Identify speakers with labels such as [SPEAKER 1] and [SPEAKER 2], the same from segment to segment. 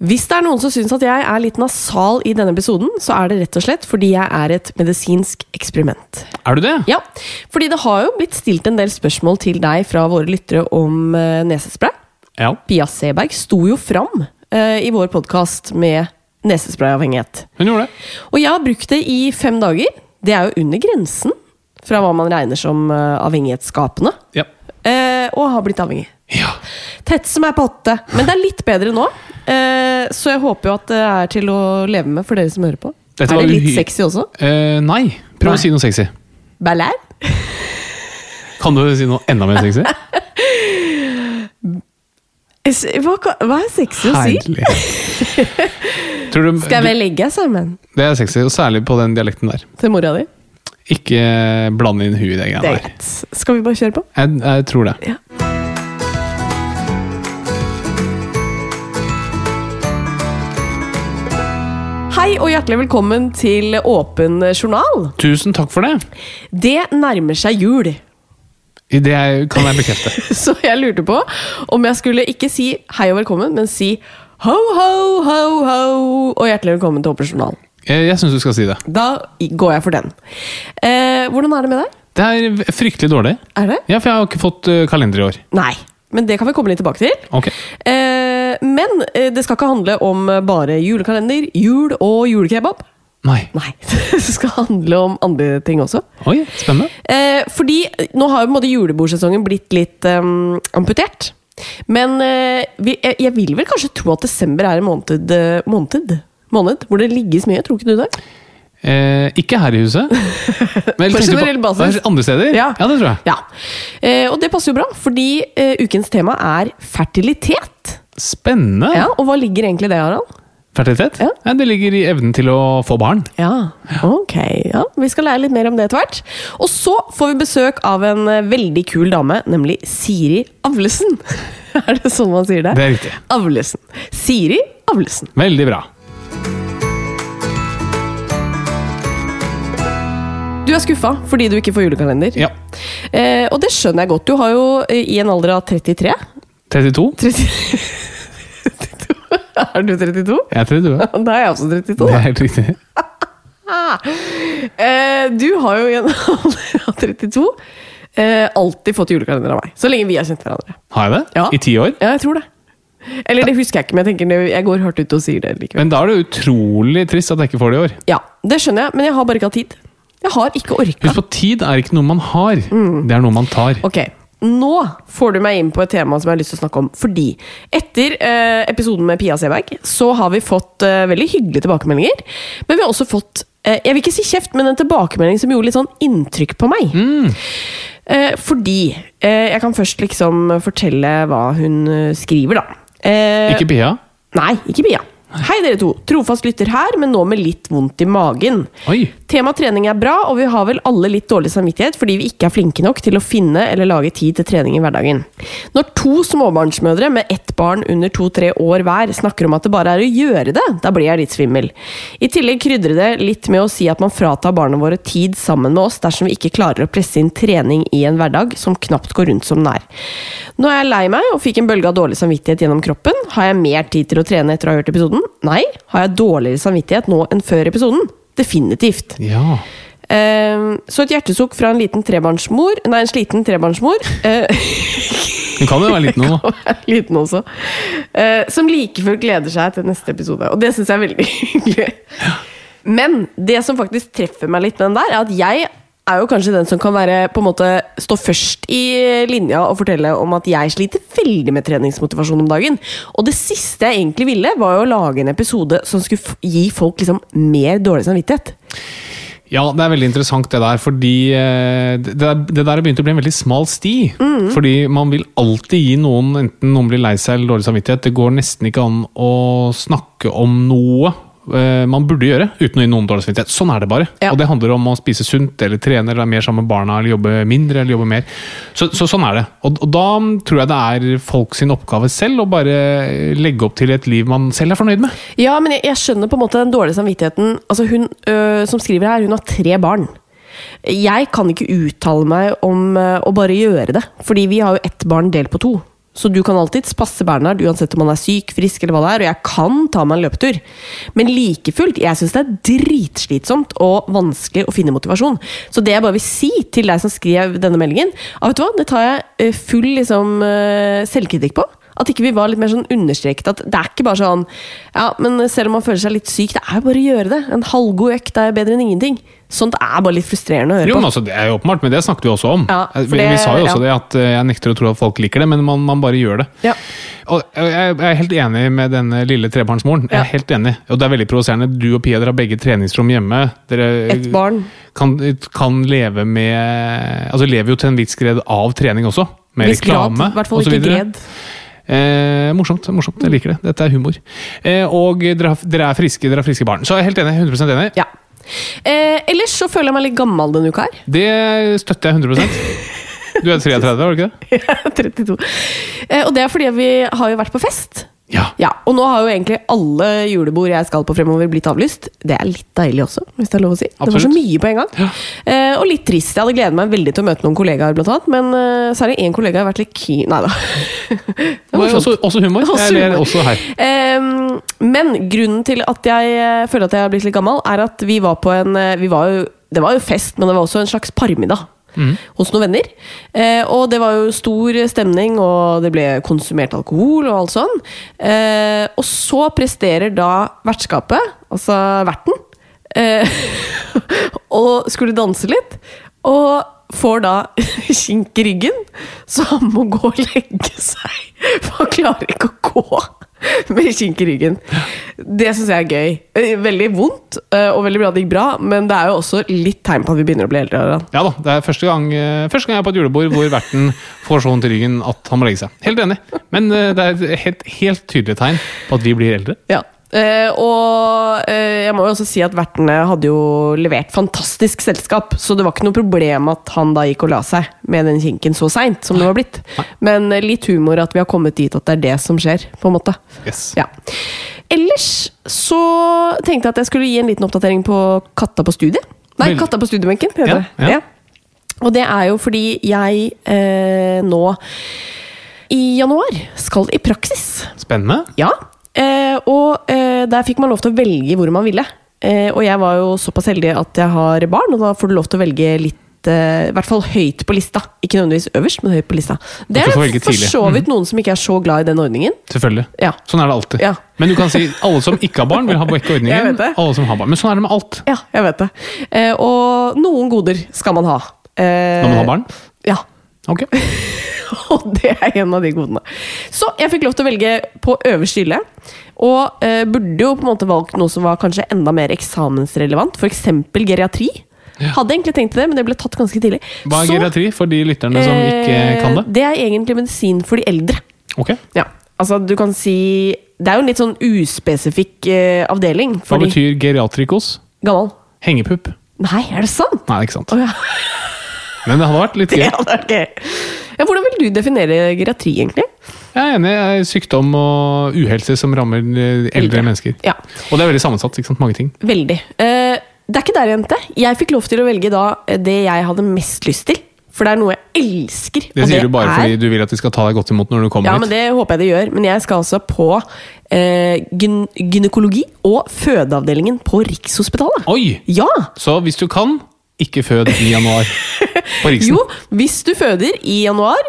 [SPEAKER 1] Hvis det er noen som syns at jeg er litt nasal i denne episoden, så er det rett og slett fordi jeg er et medisinsk eksperiment.
[SPEAKER 2] Er du det?
[SPEAKER 1] Ja, fordi det har jo blitt stilt en del spørsmål til deg fra våre lyttere om eh, nesespray.
[SPEAKER 2] Ja.
[SPEAKER 1] Pia Seberg sto jo fram eh, i vår podkast med nesesprayavhengighet.
[SPEAKER 2] Hun gjorde det.
[SPEAKER 1] Og jeg har brukt det i fem dager. Det er jo under grensen fra hva man regner som eh, avhengighetsskapende.
[SPEAKER 2] Ja.
[SPEAKER 1] Eh, og har blitt avhengig.
[SPEAKER 2] ja.
[SPEAKER 1] Tett som er på åtte. Men det er litt bedre nå. Eh, så jeg håper jo at det er til å leve med for dere som hører på.
[SPEAKER 2] Dette
[SPEAKER 1] er
[SPEAKER 2] var
[SPEAKER 1] det litt
[SPEAKER 2] uhy-
[SPEAKER 1] sexy også?
[SPEAKER 2] Eh, nei. Prøv
[SPEAKER 1] Nei.
[SPEAKER 2] å si noe sexy.
[SPEAKER 1] Ballær?
[SPEAKER 2] Kan du si noe enda mer sexy?
[SPEAKER 1] Es- Hva, ka- hva er sexy å si?
[SPEAKER 2] Herlig. Tror du,
[SPEAKER 1] Skal vi legge oss sammen?
[SPEAKER 2] Det er sexy, og særlig på den dialekten der.
[SPEAKER 1] Til mora di?
[SPEAKER 2] Ikke blande inn huet i det
[SPEAKER 1] Det
[SPEAKER 2] greia
[SPEAKER 1] er
[SPEAKER 2] der.
[SPEAKER 1] greit. Skal vi bare kjøre på?
[SPEAKER 2] Jeg, jeg tror det.
[SPEAKER 1] Ja. Hei og hjertelig velkommen til Åpen journal.
[SPEAKER 2] Tusen takk for det.
[SPEAKER 1] Det nærmer seg jul.
[SPEAKER 2] I Det er- kan jeg bekrefte.
[SPEAKER 1] Så jeg lurte på om jeg skulle ikke si hei og velkommen, men si ho, ho, ho, ho, og hjertelig velkommen til Åpen journal.
[SPEAKER 2] Jeg, jeg syns du skal si det.
[SPEAKER 1] Da går jeg for den. Eh, hvordan er det med deg?
[SPEAKER 2] Det er v- fryktelig dårlig.
[SPEAKER 1] Er det?
[SPEAKER 2] Ja, for jeg har ikke fått eh, kalender i år.
[SPEAKER 1] Nei. Men det kan vi komme litt tilbake til.
[SPEAKER 2] Ok.
[SPEAKER 1] Eh, men eh, det skal ikke handle om eh, bare julekalender, jul og julekebab.
[SPEAKER 2] Nei.
[SPEAKER 1] Nei, det skal handle om andre ting også.
[SPEAKER 2] Oi, spennende.
[SPEAKER 1] Eh, fordi eh, nå har jo på en måte julebordsesongen blitt litt eh, amputert. Men eh, vi, jeg, jeg vil vel kanskje tro at desember er en måned, eh, måned, måned hvor det ligges mye. Tror ikke du det?
[SPEAKER 2] Eh, ikke her i huset. Men
[SPEAKER 1] På
[SPEAKER 2] tenkte du
[SPEAKER 1] generell basis.
[SPEAKER 2] Andre steder? det tror jeg.
[SPEAKER 1] Ja. Eh, og det passer jo bra, fordi eh, ukens tema er fertilitet.
[SPEAKER 2] Spennende.
[SPEAKER 1] Ja, Og hva ligger egentlig i det, Harald?
[SPEAKER 2] Fertilitet?
[SPEAKER 1] Ja.
[SPEAKER 2] Ja, det ligger i evnen til å få barn.
[SPEAKER 1] Ja, ok. Ja. Vi skal lære litt mer om det etter hvert. Og så får vi besøk av en eh, veldig kul dame, nemlig Siri Avlesen. er det sånn man sier det?
[SPEAKER 2] Det er riktig.
[SPEAKER 1] Avlesen. Siri Avlesen.
[SPEAKER 2] Veldig bra.
[SPEAKER 1] Du er skuffa fordi du ikke får julekalender.
[SPEAKER 2] Ja.
[SPEAKER 1] Eh, og det skjønner jeg godt. Du har jo eh, i en alder av 33
[SPEAKER 2] 32?
[SPEAKER 1] 30... Er du 32?
[SPEAKER 2] Jeg er 32.
[SPEAKER 1] Da er jeg også 32.
[SPEAKER 2] Det
[SPEAKER 1] da.
[SPEAKER 2] er helt riktig.
[SPEAKER 1] Eh, du har jo i en alder av 32 eh, alltid fått julekalender av meg. Så lenge vi har kjent hverandre.
[SPEAKER 2] Har jeg det?
[SPEAKER 1] Ja.
[SPEAKER 2] I ti år?
[SPEAKER 1] Ja, jeg tror det. Eller det husker jeg ikke, men jeg tenker det, jeg går hardt ut og sier det likevel.
[SPEAKER 2] Men da er det utrolig trist at jeg ikke får det i år.
[SPEAKER 1] Ja, Det skjønner jeg, men jeg har bare ikke hatt tid. Jeg har ikke orka.
[SPEAKER 2] Husk på, tid er ikke noe man har, det er noe man tar.
[SPEAKER 1] Mm. Ok, nå får du meg inn på et tema som jeg har lyst til å snakke om. Fordi etter eh, episoden med Pia Seberg så har vi fått eh, veldig hyggelige tilbakemeldinger. Men vi har
[SPEAKER 2] Mm.
[SPEAKER 1] også fått eh, jeg vil ikke si kjeft, men en tilbakemelding som gjorde litt sånn inntrykk på meg. Eh, fordi eh, Jeg kan først liksom fortelle hva hun eh, skriver, da. Eh,
[SPEAKER 2] Ikke Pia?
[SPEAKER 1] Nei, ikke Pia. Hei, dere to. Trofast lytter her, men nå med litt vondt i magen.
[SPEAKER 2] Oi.
[SPEAKER 1] Tema trening er bra, og vi har vel alle litt dårlig samvittighet fordi vi ikke er flinke nok til å finne eller lage tid til trening i hverdagen. Når to småbarnsmødre med ett barn under to-tre år hver snakker om at det bare er å gjøre det, da blir jeg litt svimmel. I tillegg krydrer det litt med å si at man fratar barna våre tid sammen med oss dersom vi ikke klarer å presse inn trening i en hverdag som knapt går rundt som den er. Nå er jeg lei meg og fikk en bølge av dårlig samvittighet gjennom kroppen. Har jeg mer tid til å trene etter å ha hørt episoden? Nei. Har jeg dårligere samvittighet nå enn før episoden? Definitivt.
[SPEAKER 2] Ja.
[SPEAKER 1] Eh, så et hjertesukk fra en liten trebarnsmor Nei, en sliten trebarnsmor. eh,
[SPEAKER 2] Hun kan jo være liten nå, da.
[SPEAKER 1] liten også. eh, som like fullt gleder seg til neste episode. Og det syns jeg er veldig hyggelig. Men det som faktisk treffer meg litt med den der, er at jeg er jo kanskje den som kan være på en måte stå først i linja og fortelle om at jeg sliter veldig med treningsmotivasjon om dagen. Og det siste jeg egentlig ville, var jo å lage en episode som skulle f- gi folk liksom mer dårlig samvittighet.
[SPEAKER 2] Ja, det er veldig interessant det der, fordi eh, det det der, det der har begynt å bli en veldig smal sti. Fordi man vil alltid gi noen, enten noen blir lei seg eller dårlig samvittighet, det går nesten ikke an å snakke om noe eh, man burde gjøre uten å gi noen dårlig samvittighet. Sånn er det bare.
[SPEAKER 1] Ja.
[SPEAKER 2] Og det handler om å spise sunt, eller trene, eller være mer sammen med barna, eller jobbe mindre, eller jobbe mer. Så, så sånn er det. Og, og da tror jeg det er folk sin oppgave selv å bare legge opp til et liv man selv er fornøyd med.
[SPEAKER 1] Ja, men jeg, jeg skjønner på en måte den dårlige samvittigheten. Altså Hun øh, som skriver her, hun har tre barn. Jeg kan ikke uttale meg om øh, å bare gjøre det, fordi vi har jo ett barn delt på to. Så du kan alltids passe Bernhard, uansett om han er syk, frisk eller hva det er, og jeg kan ta meg en løpetur. Men like fullt, jeg syns det er dritslitsomt og vanskelig å finne motivasjon. Så det jeg bare vil si til deg som skrev denne meldingen, ah, vet du hva, det tar jeg øh, full liksom, øh, selvkritikk på. At ikke vi var litt mer sånn understreket. At det er ikke bare sånn Ja, men selv om man føler seg litt syk, det er jo bare å gjøre det. En halvgod økt er jo bedre enn ingenting. Sånt er bare litt frustrerende å høre
[SPEAKER 2] Jo, men
[SPEAKER 1] på.
[SPEAKER 2] altså, Det er jo åpenbart, men det snakket vi også om.
[SPEAKER 1] Ja, for
[SPEAKER 2] vi,
[SPEAKER 1] det-
[SPEAKER 2] vi sa jo
[SPEAKER 1] ja.
[SPEAKER 2] også det at eh, jeg nekter å tro at folk liker det, men man, man bare gjør det.
[SPEAKER 1] Ja.
[SPEAKER 2] Og jeg, jeg er helt enig med denne lille trebarnsmoren. Jeg
[SPEAKER 1] Ja.
[SPEAKER 2] er helt enig. Og det er veldig provoserende. Du og Pia dere har begge treningsrom hjemme. Dere
[SPEAKER 1] Ett barn.
[SPEAKER 2] Kan, kan leve med Altså lever jo til en viss grad av trening også. Med
[SPEAKER 1] Viss grad,
[SPEAKER 2] reklame
[SPEAKER 1] i hvert fall
[SPEAKER 2] og så
[SPEAKER 1] ikke
[SPEAKER 2] videre.
[SPEAKER 1] gred.
[SPEAKER 2] Eh, morsomt. morsomt, Jeg liker det. Dette er humor. Eh, og dere, har- dere er friske dere har friske barn. Så jeg er helt enig. 100 enig.
[SPEAKER 1] Ja. Eh, ellers så føler jeg meg litt gammel denne uka her.
[SPEAKER 2] Det støtter jeg 100 Du er 33, var du ikke det?
[SPEAKER 1] 32. Eh, og det er fordi vi har jo vært på fest.
[SPEAKER 2] Ja.
[SPEAKER 1] Ja, Og nå har jo egentlig alle julebord jeg skal på fremover, blitt avlyst. Det er litt deilig også, hvis det er lov å si. Det var så
[SPEAKER 2] Absolutt.
[SPEAKER 1] mye på en gang. Eh, og litt trist. Jeg hadde gledet meg veldig til å møte noen kollegaer, blant annet. Men eh, særlig én kollega har vært litt keen Nei da. Det var
[SPEAKER 2] Og
[SPEAKER 1] morsomt.
[SPEAKER 2] Også, også humor.
[SPEAKER 1] Også
[SPEAKER 2] Jeg ler
[SPEAKER 1] humor.
[SPEAKER 2] også her.
[SPEAKER 1] Ehm, men grunnen til at jeg eh, føler at jeg har blitt litt gammel, er at vi var på en eh, vi var jo, Det var jo fest, men det var også en slags parmiddag.
[SPEAKER 2] Mm.
[SPEAKER 1] Hos noen venner. Eh, og det var jo stor stemning, og det ble konsumert alkohol og alt sånn. Eh, og så presterer da vertskapet, altså verten, eh, og skulle danse litt. Og får da kink i ryggen, så han må gå og legge seg. For han klarer ikke å gå med kink i ryggen. Det syns jeg er gøy. Eh, Veldig vondt, eh, og veldig bra at det gikk bra, men det er jo også litt tegn på at vi begynner å bli eldre. Aran.
[SPEAKER 2] Ja da, Det er første gang, eh, første gang jeg er på et julebord hvor verten får så vondt i ryggen at han må legge seg. Helt enig. Men eh, det er et helt, helt tydelig tegn på at vi blir eldre.
[SPEAKER 1] Ja. Eh, og eh, jeg må jo også si at vertene hadde jo levert fantastisk selskap, så det var ikke noe problem at han da gikk og la seg med den kinken så seint som det var blitt. Men eh, litt humor at vi har kommet dit at det er det som skjer, på en måte.
[SPEAKER 2] Yes.
[SPEAKER 1] Ja. Ellers så tenkte jeg at jeg skulle gi en liten oppdatering på Katta på studiet. Nei,
[SPEAKER 2] Vel-
[SPEAKER 1] Katta på studiebenken. heter
[SPEAKER 2] Ja,
[SPEAKER 1] det.
[SPEAKER 2] ja.
[SPEAKER 1] Ja. Og det er jo fordi jeg eh, nå i januar skal i praksis.
[SPEAKER 2] Spennende.
[SPEAKER 1] Ja, eh, og eh, der fikk man lov til å velge hvor man ville. Eh, og jeg var jo såpass heldig at jeg har barn, og da får du lov til å velge litt eh, i hvert fall høyt på lista. Ikke nødvendigvis øverst, men høyt på lista. Det
[SPEAKER 2] At
[SPEAKER 1] er
[SPEAKER 2] du får velge
[SPEAKER 1] for
[SPEAKER 2] tidlig. Mhm.
[SPEAKER 1] så vidt noen som ikke er så glad i den ordningen.
[SPEAKER 2] Selvfølgelig.
[SPEAKER 1] Ja.
[SPEAKER 2] Sånn er det alltid.
[SPEAKER 1] Ja.
[SPEAKER 2] Men du kan si alle som ikke har barn, vil ha vekk
[SPEAKER 1] Jeg vet
[SPEAKER 2] ordningen.
[SPEAKER 1] det.
[SPEAKER 2] Alle som har barn. Men sånn er det med alt.
[SPEAKER 1] Ja, jeg vet det. Eh, og noen goder skal man ha. Eh,
[SPEAKER 2] Når man har barn?
[SPEAKER 1] Ja.
[SPEAKER 2] Ok.
[SPEAKER 1] Og det er en av de godene. Så jeg fikk lov til å velge på øverste hylle. Og eh, burde jo på en måte valgt noe som var kanskje enda mer eksamensrelevant. F.eks. geriatri. Hadde egentlig tenkt det, men det ble tatt ganske tidlig.
[SPEAKER 2] Hva er
[SPEAKER 1] Så,
[SPEAKER 2] geriatri for de lytterne som ikke kan
[SPEAKER 1] eh,
[SPEAKER 2] det?
[SPEAKER 1] Det er egentlig medisin for de eldre.
[SPEAKER 2] Ok,
[SPEAKER 1] Ja, altså du kan si Det er jo en litt sånn uspesifikk eh, avdeling.
[SPEAKER 2] Hva
[SPEAKER 1] fordi-
[SPEAKER 2] betyr geriatrikos?
[SPEAKER 1] Gammel.
[SPEAKER 2] Hengepupp.
[SPEAKER 1] Nei, er det sant?
[SPEAKER 2] Nei, ikke sant.
[SPEAKER 1] Å ja.
[SPEAKER 2] Men det hadde vært litt gøy.
[SPEAKER 1] Ja, det er gøy. Ja, hvordan vil du definere geriatri, egentlig?
[SPEAKER 2] Jeg er enig. det er Sykdom og uhelse som rammer eh, eldre
[SPEAKER 1] Eldre.
[SPEAKER 2] mennesker.
[SPEAKER 1] Ja.
[SPEAKER 2] Og det er veldig sammensatt. ikke sant? Mange ting.
[SPEAKER 1] Veldig. Eh, det er ikke der jeg endte. Jeg fikk lov til å velge da eh, det jeg hadde mest lyst til. For det er noe jeg elsker.
[SPEAKER 2] Det
[SPEAKER 1] og
[SPEAKER 2] sier du bare
[SPEAKER 1] er-
[SPEAKER 2] fordi du vil at de skal ta deg godt imot når du kommer
[SPEAKER 1] Ja, men
[SPEAKER 2] hit.
[SPEAKER 1] det håper jeg det gjør. Men jeg skal altså på eh, gyn gynekologi og fødeavdelingen på Rikshospitalet.
[SPEAKER 2] Oi!
[SPEAKER 1] Ja!
[SPEAKER 2] Så hvis du kan, ikke fød i januar på Riksen.
[SPEAKER 1] Jo, hvis du føder i januar,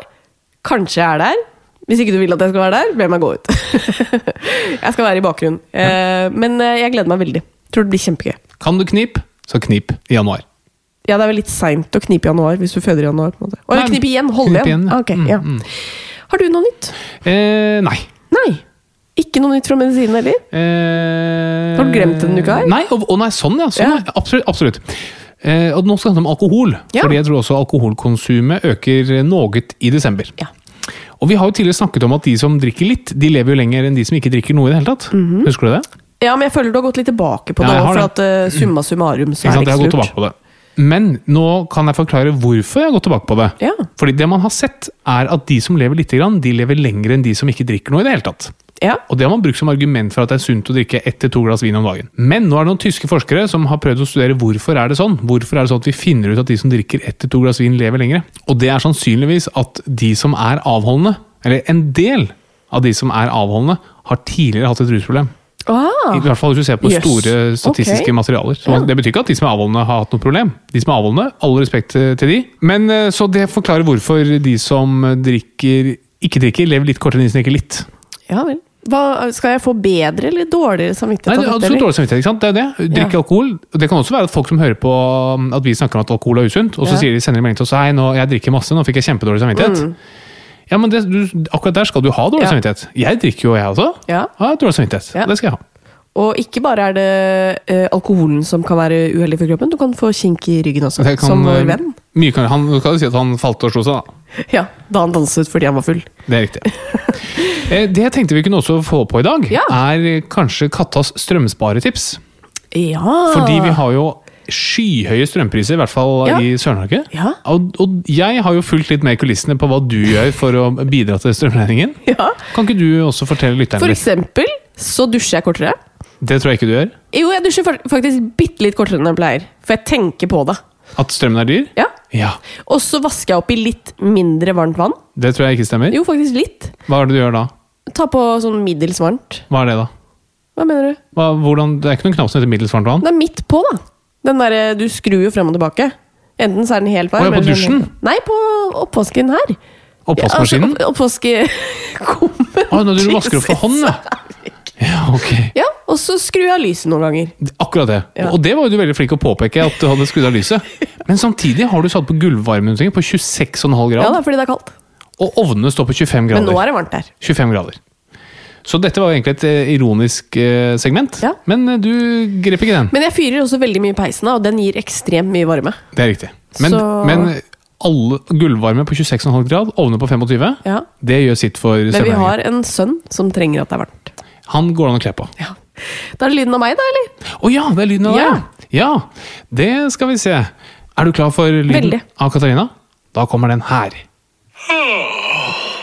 [SPEAKER 1] kanskje jeg er der. Hvis ikke du vil at jeg skal være der, be meg gå ut. jeg skal være i bakgrunnen. Eh, men eh, jeg gleder meg veldig. Tror det blir kjempegøy.
[SPEAKER 2] Kan du knip, så knip i januar.
[SPEAKER 1] Ja, det er vel litt seint å knipe i januar hvis du føder i januar. på en måte. Å,
[SPEAKER 2] Nei,
[SPEAKER 1] knipe igjen! Holde
[SPEAKER 2] knipe
[SPEAKER 1] igjen.
[SPEAKER 2] igjen, ja.
[SPEAKER 1] Ah, ok,
[SPEAKER 2] Mm,
[SPEAKER 1] ja. Har du noe nytt?
[SPEAKER 2] Eh, nei.
[SPEAKER 1] Nei. Ikke noe nytt fra medisinen heller?
[SPEAKER 2] Eh,
[SPEAKER 1] Har du glemt den uka her?
[SPEAKER 2] Nei, og, og nei, sånn ja. Sånn,
[SPEAKER 1] Ja.
[SPEAKER 2] ja. Absolutt. absolutt. Eh, og nå skal det handle om alkohol,
[SPEAKER 1] Ja.
[SPEAKER 2] fordi jeg tror også alkoholkonsumet øker noe i desember.
[SPEAKER 1] Ja.
[SPEAKER 2] Og vi har jo tidligere snakket om at de som drikker litt, de lever jo lenger enn de som ikke drikker noe i det hele tatt.
[SPEAKER 1] Mhm.
[SPEAKER 2] Husker du det?
[SPEAKER 1] Ja, men jeg føler du har gått litt tilbake på
[SPEAKER 2] Ja,
[SPEAKER 1] det.
[SPEAKER 2] jeg
[SPEAKER 1] også,
[SPEAKER 2] har
[SPEAKER 1] for
[SPEAKER 2] det.
[SPEAKER 1] at eh, summa summarum så er
[SPEAKER 2] Ikke sant?
[SPEAKER 1] det
[SPEAKER 2] Jeg
[SPEAKER 1] ikke så
[SPEAKER 2] har gått
[SPEAKER 1] lurt.
[SPEAKER 2] tilbake på det. Men nå kan jeg forklare hvorfor jeg har gått tilbake på det.
[SPEAKER 1] Ja.
[SPEAKER 2] Fordi det man har sett, er at de som lever lite grann, de lever lenger enn de som ikke drikker noe i det hele tatt.
[SPEAKER 1] Ja.
[SPEAKER 2] Og det har man brukt som argument for at det er sunt å drikke ett til to glass vin om dagen. Men nå er det noen tyske forskere som har prøvd å studere hvorfor er det sånn. Hvorfor er det sånn at vi finner ut at de som drikker ett til to glass vin, lever lengre? Og det er sannsynligvis at de som er avholdende, eller en del av de som er avholdende, har tidligere hatt et rusproblem. I
[SPEAKER 1] Ah,
[SPEAKER 2] hvert fall hvis du ser på
[SPEAKER 1] Jøs.
[SPEAKER 2] store statistiske
[SPEAKER 1] Ok.
[SPEAKER 2] materialer. Så
[SPEAKER 1] Ja.
[SPEAKER 2] Det betyr ikke at de som er avholdende har hatt noe problem. De som er avholdende, all respekt eh, til de. Men eh, Så det forklarer hvorfor de som drikker ikke drikker, lever litt kortere enn de som drikker litt.
[SPEAKER 1] ja vel. Hva, skal jeg få bedre eller dårligere
[SPEAKER 2] Nei,
[SPEAKER 1] samvittighet?
[SPEAKER 2] det,
[SPEAKER 1] av
[SPEAKER 2] altså,
[SPEAKER 1] dette, eller?
[SPEAKER 2] dårlig samvittighet, ikke sant? Det er jo det. Drikke
[SPEAKER 1] Ja.
[SPEAKER 2] alkohol. Det kan også være at folk som hører på um, at vi snakker om at alkohol er usunt, og så
[SPEAKER 1] Ja. Mm.
[SPEAKER 2] sier de sender de melding til oss hei, nå, jeg drikker masse, nå fikk jeg kjempedårlig samvittighet. Ja, men det, du, Akkurat der skal du ha dårlig
[SPEAKER 1] Ja.
[SPEAKER 2] samvittighet. Jeg drikker jo, jeg også.
[SPEAKER 1] Ja.
[SPEAKER 2] Jeg har dårlig samvittighet.
[SPEAKER 1] Ja.
[SPEAKER 2] Det skal jeg ha.
[SPEAKER 1] Og ikke bare er det eh, alkoholen som kan være uheldig for kroppen, du kan få kink i ryggen også,
[SPEAKER 2] Så jeg kan,
[SPEAKER 1] som
[SPEAKER 2] eh,
[SPEAKER 1] vår venn.
[SPEAKER 2] Mye kan, han kan jo si at han falt og slo seg, da.
[SPEAKER 1] Ja, Da han danset fordi han var full.
[SPEAKER 2] Det er riktig. Eh, Det jeg tenkte vi kunne også få på i dag,
[SPEAKER 1] Ja.
[SPEAKER 2] er eh, kanskje Kattas strømsparetips.
[SPEAKER 1] Ja!
[SPEAKER 2] Fordi vi har jo skyhøye strømpriser, i hvert fall
[SPEAKER 1] Ja.
[SPEAKER 2] i Sør-Norge.
[SPEAKER 1] Ja.
[SPEAKER 2] Og, og jeg har jo fulgt litt med i kulissene på hva du gjør for å bidra til strømregningen.
[SPEAKER 1] Ja.
[SPEAKER 2] Kan ikke du også fortelle lytterne
[SPEAKER 1] For
[SPEAKER 2] litt?
[SPEAKER 1] eksempel så dusjer jeg kortere.
[SPEAKER 2] Det tror jeg ikke du gjør.
[SPEAKER 1] Jo, jeg dusjer fak- faktisk bitte litt kortere enn jeg pleier, for jeg tenker på det.
[SPEAKER 2] At strømmen er dyr?
[SPEAKER 1] Ja.
[SPEAKER 2] Ja.
[SPEAKER 1] Og så vasker jeg opp i litt mindre varmt vann.
[SPEAKER 2] Det tror jeg ikke stemmer.
[SPEAKER 1] Jo, faktisk litt.
[SPEAKER 2] Hva er det du gjør da?
[SPEAKER 1] Ta på sånn middels varmt.
[SPEAKER 2] Hva er det da?
[SPEAKER 1] Hva mener du?
[SPEAKER 2] Hva, hvordan, det er ikke noen knapp som heter middels varmt vann?
[SPEAKER 1] Det er midt på, da. Den derre du skrur jo frem og tilbake. Enten så er den helt varm
[SPEAKER 2] Å, ja, på
[SPEAKER 1] eller så er den
[SPEAKER 2] dusjen?
[SPEAKER 1] helt- Nei, på oppvasken her.
[SPEAKER 2] Oppvaskmaskinen?
[SPEAKER 1] Ja, altså, opp- Oppvaskekummen.
[SPEAKER 2] Å, når du vasker opp for hånd, ja. Ja, ok.
[SPEAKER 1] Ja, og så skrur jeg av lyset noen ganger.
[SPEAKER 2] Akkurat det.
[SPEAKER 1] Ja.
[SPEAKER 2] Og det var jo du veldig flink å påpeke at du hadde skrudd av lyset. Men samtidig har du satt på gulvvarmen på 26,5
[SPEAKER 1] Ja,
[SPEAKER 2] grad,
[SPEAKER 1] da, fordi det er kaldt.
[SPEAKER 2] og ovnene står på 25
[SPEAKER 1] Men nå
[SPEAKER 2] grader.
[SPEAKER 1] er det varmt her.
[SPEAKER 2] 25 grader. Så dette var jo egentlig et eh, ironisk eh, segment,
[SPEAKER 1] Ja.
[SPEAKER 2] men eh, du grep ikke den.
[SPEAKER 1] Men jeg fyrer også veldig mye i peisen, da, og den gir ekstremt mye varme.
[SPEAKER 2] Det er riktig. Men,
[SPEAKER 1] Så-
[SPEAKER 2] men alle gulvvarme på 26,5 grad, ovner på 25,
[SPEAKER 1] Ja.
[SPEAKER 2] det gjør sitt for
[SPEAKER 1] Men vi
[SPEAKER 2] strømregningen.
[SPEAKER 1] har en sønn som trenger at det er varmt.
[SPEAKER 2] Han går det an å kle på.
[SPEAKER 1] Ja. Da er det lyden av meg, da, eller?
[SPEAKER 2] Å ja, det er lyden av
[SPEAKER 1] Ja.
[SPEAKER 2] det! Ja, det skal vi se. Er du klar for lyden
[SPEAKER 1] Veldig.
[SPEAKER 2] av Katarina? Da kommer den her.
[SPEAKER 3] Det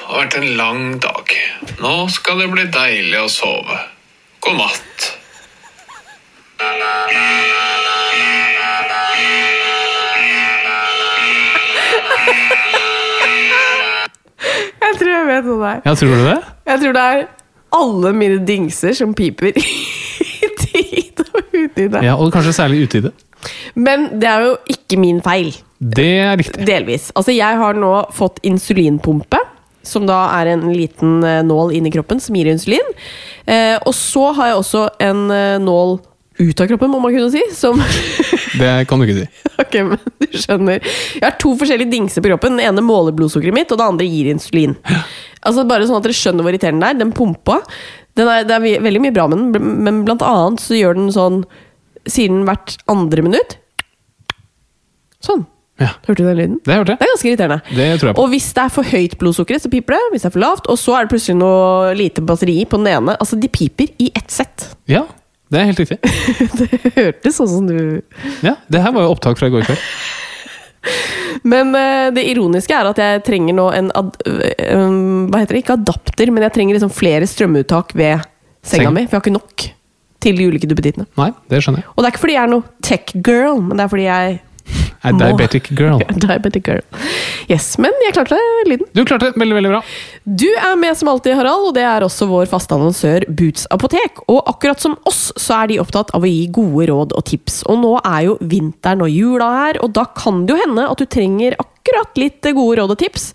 [SPEAKER 3] har vært en lang dag. Nå skal det bli deilig å sove. God natt.
[SPEAKER 1] Jeg tror jeg vet hva det er.
[SPEAKER 2] Ja, tror du det?
[SPEAKER 1] Jeg tror det er alle mine dingser som piper i tid og utide.
[SPEAKER 2] Ja, og kanskje særlig ute i det.
[SPEAKER 1] Men det er jo ikke min feil,
[SPEAKER 2] Det er riktig.
[SPEAKER 1] delvis. Altså, jeg har nå fått insulinpumpe. Som da er en liten eh, nål inni kroppen som gir insulin. Eh, og så har jeg også en eh, nål ut av kroppen, må man kunne si. Som
[SPEAKER 2] Det kan du ikke si.
[SPEAKER 1] Ok, men du skjønner. Jeg har to forskjellige dingser på kroppen. Den ene måler blodsukkeret mitt, og den andre gir insulin. Altså Bare sånn at dere skjønner hvor irriterende det er. Den pumpa den er, Det er ve- veldig mye bra med den, men blant annet så gjør den sånn Sier den hvert andre minutt Sånn.
[SPEAKER 2] Ja.
[SPEAKER 1] Hørte du den lyden?
[SPEAKER 2] Det hørte
[SPEAKER 1] Det
[SPEAKER 2] jeg.
[SPEAKER 1] er ganske irriterende.
[SPEAKER 2] Det tror jeg på.
[SPEAKER 1] Og hvis det er for høyt blodsukker, så piper det. Hvis det er for lavt, og så er det plutselig noe lite batteri på den ene. Altså, de piper i ett sett.
[SPEAKER 2] Ja, det er helt riktig.
[SPEAKER 1] Det hørtes sånn som du
[SPEAKER 2] Ja, Det her var jo opptak fra i går kveld.
[SPEAKER 1] Men eh, det ironiske er at jeg trenger nå en ad, øh, øh, Hva heter det? Ikke adapter, men jeg trenger liksom flere strømuttak ved senga
[SPEAKER 2] Seng.
[SPEAKER 1] mi. For jeg har ikke nok til de ulike duppedittene.
[SPEAKER 2] Nei, det skjønner jeg.
[SPEAKER 1] Og det er ikke fordi jeg er noe tech-girl, men det er fordi jeg
[SPEAKER 2] A
[SPEAKER 1] Må.
[SPEAKER 2] diabetic girl.
[SPEAKER 1] er diabetic girl. Yes, men jeg klarte det, lyden.
[SPEAKER 2] Du klarte det veldig, veldig bra.
[SPEAKER 1] Du er med som alltid, Harald, og det er også vår faste annonsør Boots apotek. Og akkurat som oss, så er de opptatt av å gi gode råd og tips. Og nå er jo vinteren og jula her, og da kan det jo hende at du trenger akkurat litt gode råd og tips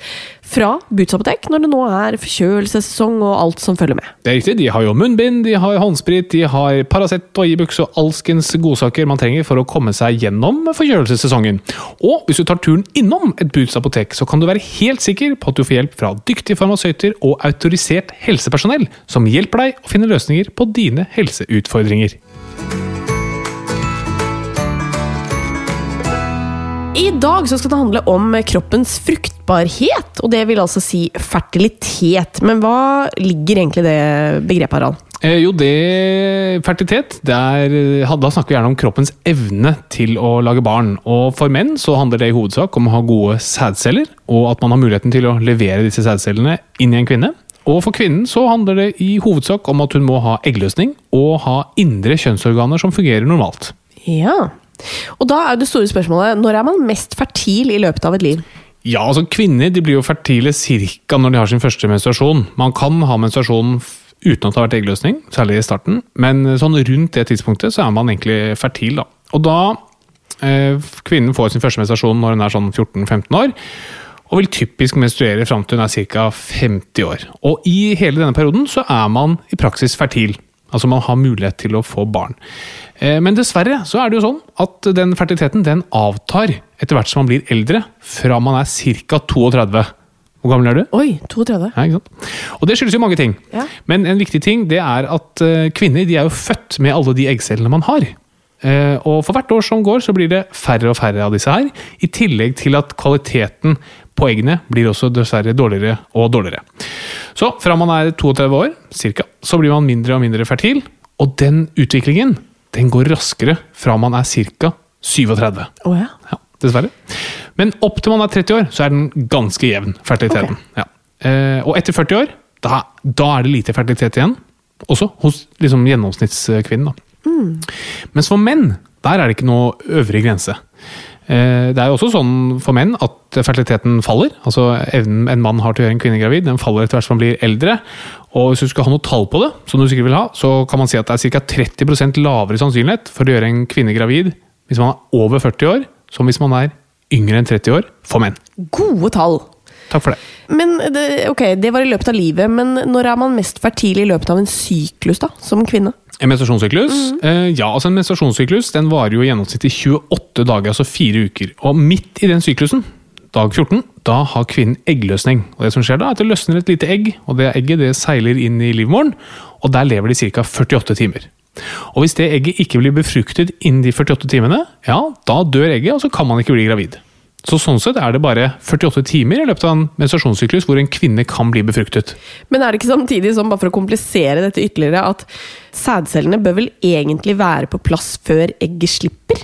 [SPEAKER 1] fra Boots apotek når det nå er forkjølelsessesong og alt som følger med.
[SPEAKER 2] Det er riktig, De har jo munnbind, de har håndsprit, de har Paracet og Ibux og alskens godsaker man trenger for å komme seg gjennom forkjølelsessesongen. Og hvis du tar turen innom et Boots apotek, så kan du være helt sikker på at du får hjelp fra dyktige farmasøyter og autorisert helsepersonell, som hjelper deg å finne løsninger på dine helseutfordringer.
[SPEAKER 1] I dag så skal det handle om kroppens fruktbarhet, og det vil altså si fertilitet. Men hva ligger egentlig i det begrepet, Harald?
[SPEAKER 2] Eh, jo, det fertilitet det er, eh, Da snakker vi gjerne om kroppens evne til å lage barn. Og for menn så handler det i hovedsak om å ha gode sædceller, og at man har muligheten til å levere disse sædcellene inn i en kvinne. Og for kvinnen så handler det i hovedsak om at hun må ha eggløsning og ha indre kjønnsorganer som fungerer normalt.
[SPEAKER 1] Ja. Og da er jo det store spørsmålet når er man mest fertil i løpet av et liv?
[SPEAKER 2] Ja, altså Kvinner de blir jo fertile ca. når de har sin første menstruasjon. Man kan ha menstruasjon f- uten at det har vært eggløsning, særlig i starten. Men sånn rundt det tidspunktet så er man egentlig fertil. da. Og da eh, Kvinnen får sin første menstruasjon når hun er sånn 14-15 år. Og vil typisk menstruere fram til hun er ca. 50 år. Og i hele denne perioden så er man i praksis fertil. Altså man har mulighet til å få barn. Eh, Men dessverre så er det jo sånn at den fertiliteten den avtar etter hvert som man blir eldre, fra man er ca. 32. Hvor gammel er du?
[SPEAKER 1] Oi, 32.
[SPEAKER 2] Ja, ikke sant? Og det skyldes jo mange ting.
[SPEAKER 1] Ja.
[SPEAKER 2] Men en viktig ting det er at eh, kvinner de er jo født med alle de eggcellene man har. Eh, Og for hvert år som går, så blir det færre og færre av disse her. I tillegg til at kvaliteten på eggene blir også dessverre dårligere og dårligere. Så fra man er 32 år, cirka, så blir man mindre og mindre fertil. Og den utviklingen den går raskere fra man er ca. 37.
[SPEAKER 1] Å ja.
[SPEAKER 2] Ja, dessverre. Men opp til man er 30 år, så er den ganske jevn, fertiliteten. Ja. Eh, og etter 40 år, da, da er det lite fertilitet igjen. Også hos liksom, gjennomsnittskvinnen. Da. Mens for menn, der er det ikke noe øvre grense. Eh, Det er jo også sånn for menn at fertiliteten faller. Altså Evnen en mann har til å gjøre en kvinne gravid, den faller etter hvert som man blir eldre. Og hvis du skal ha noe tall på det, som du sikkert vil ha, så kan man si at det er ca. 30 lavere sannsynlighet for å gjøre en kvinne gravid hvis man er over 40 år, som hvis man er yngre enn 30 år for menn.
[SPEAKER 1] Gode tall.
[SPEAKER 2] Takk for det.
[SPEAKER 1] Men det, ok, det var i løpet av livet, men når er man mest fertil i løpet av en syklus, da? Som kvinne?
[SPEAKER 2] En menstruasjonssyklus? Eh, ja, altså en menstruasjonssyklus den varer jo i gjennomsnitt i 28 dager, altså fire uker. Og midt i den syklusen, dag 14, da har kvinnen eggløsning. Og det som skjer da, er at det løsner et lite egg, og det egget det seiler inn i livmoren, og der lever de ca. 48 timer. Og hvis det egget ikke blir befruktet innen de 48 timene, ja, da dør egget, og så kan man ikke bli gravid. Så sånn sett er det bare 48 timer i løpet av en menstruasjonssyklus hvor en kvinne kan bli befruktet.
[SPEAKER 1] Men er det ikke samtidig sånn, bare for å komplisere dette ytterligere, at sædcellene bør vel egentlig være på plass før egget slipper?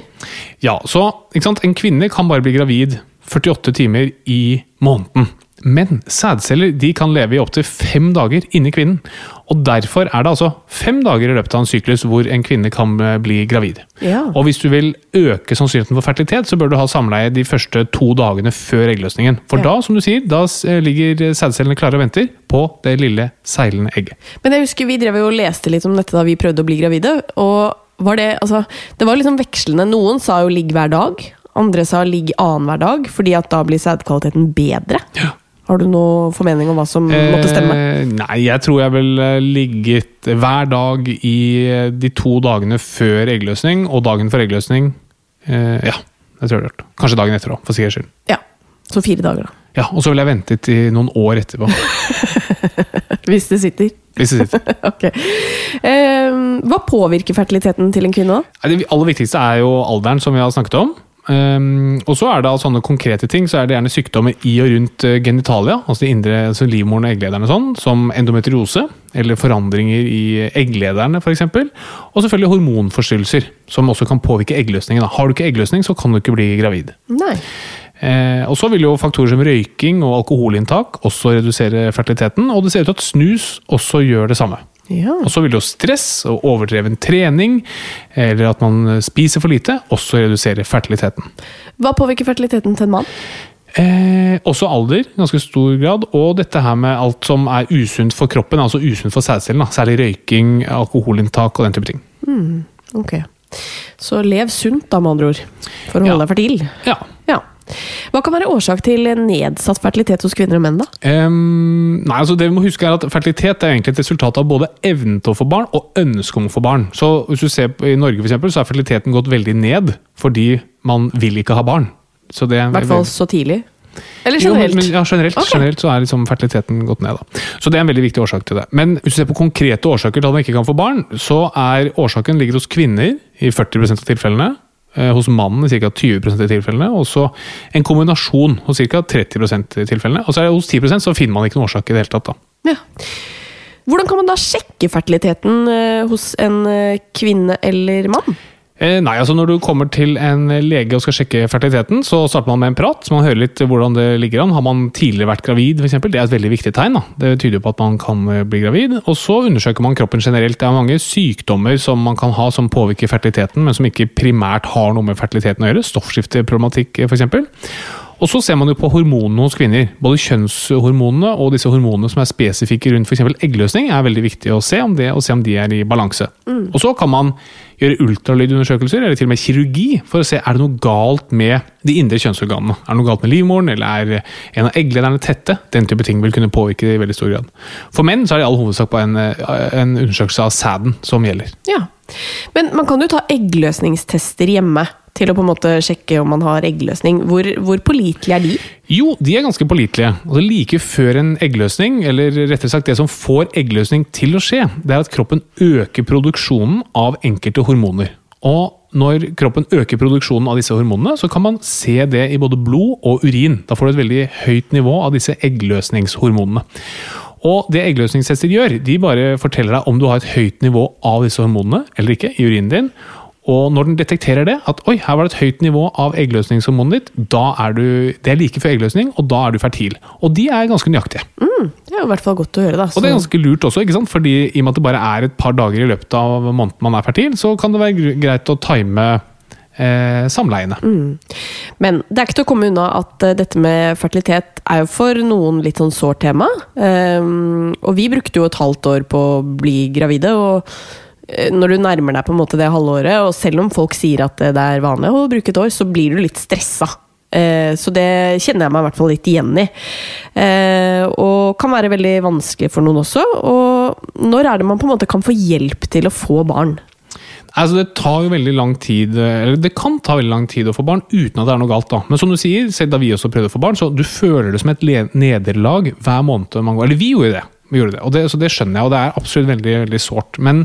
[SPEAKER 2] Ja, så ikke sant? En kvinne kan bare bli gravid 48 timer i måneden. Men sædceller de kan leve i opptil fem dager inni kvinnen. Og Derfor er det altså fem dager i løpet av en syklus hvor en kvinne kan eh, bli gravid.
[SPEAKER 1] Ja.
[SPEAKER 2] Og Hvis du vil øke sannsynligheten for fertilitet, så bør du ha samleie de første to dagene før eggløsningen. For da som du sier, da eh, ligger sædcellene klare og venter på det lille seilende egget.
[SPEAKER 1] Men jeg husker vi drev jo og leste litt om dette da vi prøvde å bli gravide. Og var det, altså, det var liksom vekslende. Noen sa jo 'ligg hver dag', andre sa 'ligg annenhver dag', fordi at da blir sædkvaliteten bedre.
[SPEAKER 2] Ja.
[SPEAKER 1] Har du noe formening om hva som måtte stemme?
[SPEAKER 2] Eh, nei, jeg tror jeg vel eh, ligget hver dag i eh, de to dagene før eggløsning og dagen for eggløsning. Eh, ja, det tror jeg det har gjort. Kanskje dagen etter òg, for sikkerhets skyld.
[SPEAKER 1] Ja, Så fire dager, da.
[SPEAKER 2] Ja, Og så ville jeg ventet i noen år etterpå.
[SPEAKER 1] Hvis det sitter.
[SPEAKER 2] hvis det sitter.
[SPEAKER 1] ok. Eh, hva påvirker fertiliteten til en kvinne? da?
[SPEAKER 2] Nei, Det aller viktigste er jo alderen, som vi har snakket om. Eh, Ehm, og så er det av sånne konkrete ting, så er det gjerne sykdommer i og rundt eh, genitalia, altså de indre altså livmoren og egglederne og sånn, som endometriose, eller forandringer i egglederne f.eks. Og selvfølgelig hormonforstyrrelser, som også kan påvirke eggløsningen. da. Har du ikke eggløsning, så kan du ikke bli gravid.
[SPEAKER 1] Nei.
[SPEAKER 2] Eh, og så vil jo faktorer som røyking og alkoholinntak også redusere fertiliteten, og det ser ut til at snus også gjør det samme.
[SPEAKER 1] Ja.
[SPEAKER 2] Og så vil jo stress og overdreven trening, eller at man spiser for lite, også redusere fertiliteten.
[SPEAKER 1] Hva påvirker fertiliteten til en mann?
[SPEAKER 2] Eh, også alder, i ganske stor grad, og dette her med alt som er usunt for kroppen, altså usunt for sædcellen, da. særlig røyking, alkoholinntak og den type ting.
[SPEAKER 1] Ok. Så lev sunt, da, med andre ord. For å
[SPEAKER 2] Ja.
[SPEAKER 1] holde deg fertil.
[SPEAKER 2] Ja.
[SPEAKER 1] Ja. Hva kan være årsak til nedsatt fertilitet hos kvinner og menn, da?
[SPEAKER 2] Ehm, nei, altså det vi må huske er at Fertilitet er egentlig et resultat av både evnen til å få barn og ønsket om å få barn. Så hvis du ser på, I Norge for eksempel, så er fertiliteten gått veldig ned fordi man vil ikke ha barn. Så det er
[SPEAKER 1] I hvert fall så tidlig. Eller
[SPEAKER 2] Jo, men-
[SPEAKER 1] generelt.
[SPEAKER 2] men, ja, generelt,
[SPEAKER 1] Ok.
[SPEAKER 2] generelt så er liksom fertiliteten gått ned. Da. Så det er en veldig viktig årsak til det. Men hvis du ser på konkrete årsaker til at man ikke kan få barn, så er årsaken ligger hos kvinner i 40 av tilfellene. eh, Hos mannen i ca. 20 av tilfellene, og så en kombinasjon hos ca. 30 av tilfellene. Og så er det hos 10 så finner man ikke noen årsak i det hele tatt. da.
[SPEAKER 1] Ja. Hvordan kan man da sjekke fertiliteten eh, hos en eh, kvinne eller mann?
[SPEAKER 2] Eh, Nei, altså Når du kommer til en lege og skal sjekke fertiliteten, så starter man med en prat. så man hører litt hvordan det ligger an. Har man tidligere vært gravid, for eksempel, Det er et veldig viktig tegn. da. Det tyder jo på at man kan eh, bli gravid. Og så undersøker man kroppen generelt. Det er mange sykdommer som man kan ha som påvirker fertiliteten, men som ikke primært har noe med fertiliteten å gjøre. Stoffskifteproblematikk, eh, f.eks. Og så ser man jo på hormonene hos kvinner. Både kjønnshormonene og disse hormonene som er spesifikke rundt f.eks. eggløsning, er veldig viktig å se om det, og se om de er i balanse. Og så kan man gjøre ultralydundersøkelser, eller til og med kirurgi, for å se er det noe galt med de indre kjønnsorganene. Er det noe galt med livmoren, eller er en av egglederne tette? Den type ting vil kunne påvirke det i veldig stor grad. For menn så er det i all hovedsak på en, eh, en undersøkelse av sæden som gjelder.
[SPEAKER 1] Ja. Men man kan jo ta eggløsningstester hjemme til å på en måte sjekke om man har eggløsning. Hvor, hvor pålitelige er de?
[SPEAKER 2] Jo, de er ganske pålitelige. Altså Like før en eggløsning, eller rettere sagt det som får eggløsning til å skje, det er at kroppen øker produksjonen av enkelte hormoner. Og når kroppen øker produksjonen av disse hormonene, så kan man se det i både blod og urin. Da får du et veldig høyt nivå av disse eggløsningshormonene. Og det eggløsningstester gjør, de bare forteller deg om du har et høyt nivå av disse hormonene eller ikke i urinen din. Og når den detekterer det, at oi, her var det et høyt nivå av eggløsningshormonet ditt, da er du, det er like før eggløsning, og da er du fertil. Og de er ganske nøyaktige.
[SPEAKER 1] Det er jo i hvert fall godt å høre, da.
[SPEAKER 2] Og det er
[SPEAKER 1] så-
[SPEAKER 2] ganske lurt også, ikke sant? fordi i og med at det bare er et par dager i løpet av måneden man er fertil, så kan det være gr- greit å time eh, samleiene.
[SPEAKER 1] Men det er ikke til å komme unna at eh, dette med fertilitet er jo for noen litt sånn sårt tema. Ehm, og vi brukte jo et halvt år på å bli gravide, og eh, når du nærmer deg på en måte det halvåret, og selv om folk sier at eh, det er vanlig å bruke et år, så blir du litt stressa. Eh, Så det kjenner jeg meg i hvert fall litt igjen i. Eh, Og kan være veldig vanskelig for noen også. Og når er det man på en måte kan få hjelp til å få barn?
[SPEAKER 2] Altså Det tar jo veldig lang tid eh, Eller det kan ta veldig lang tid å få barn uten at det er noe galt. da Men som du sier, selv da vi også prøvde å få barn, så du føler det som et le- nederlag hver måned man går. Eller vi gjorde det. Vi gjorde det. Og det så det skjønner jeg, og det er absolutt veldig veldig sårt. Men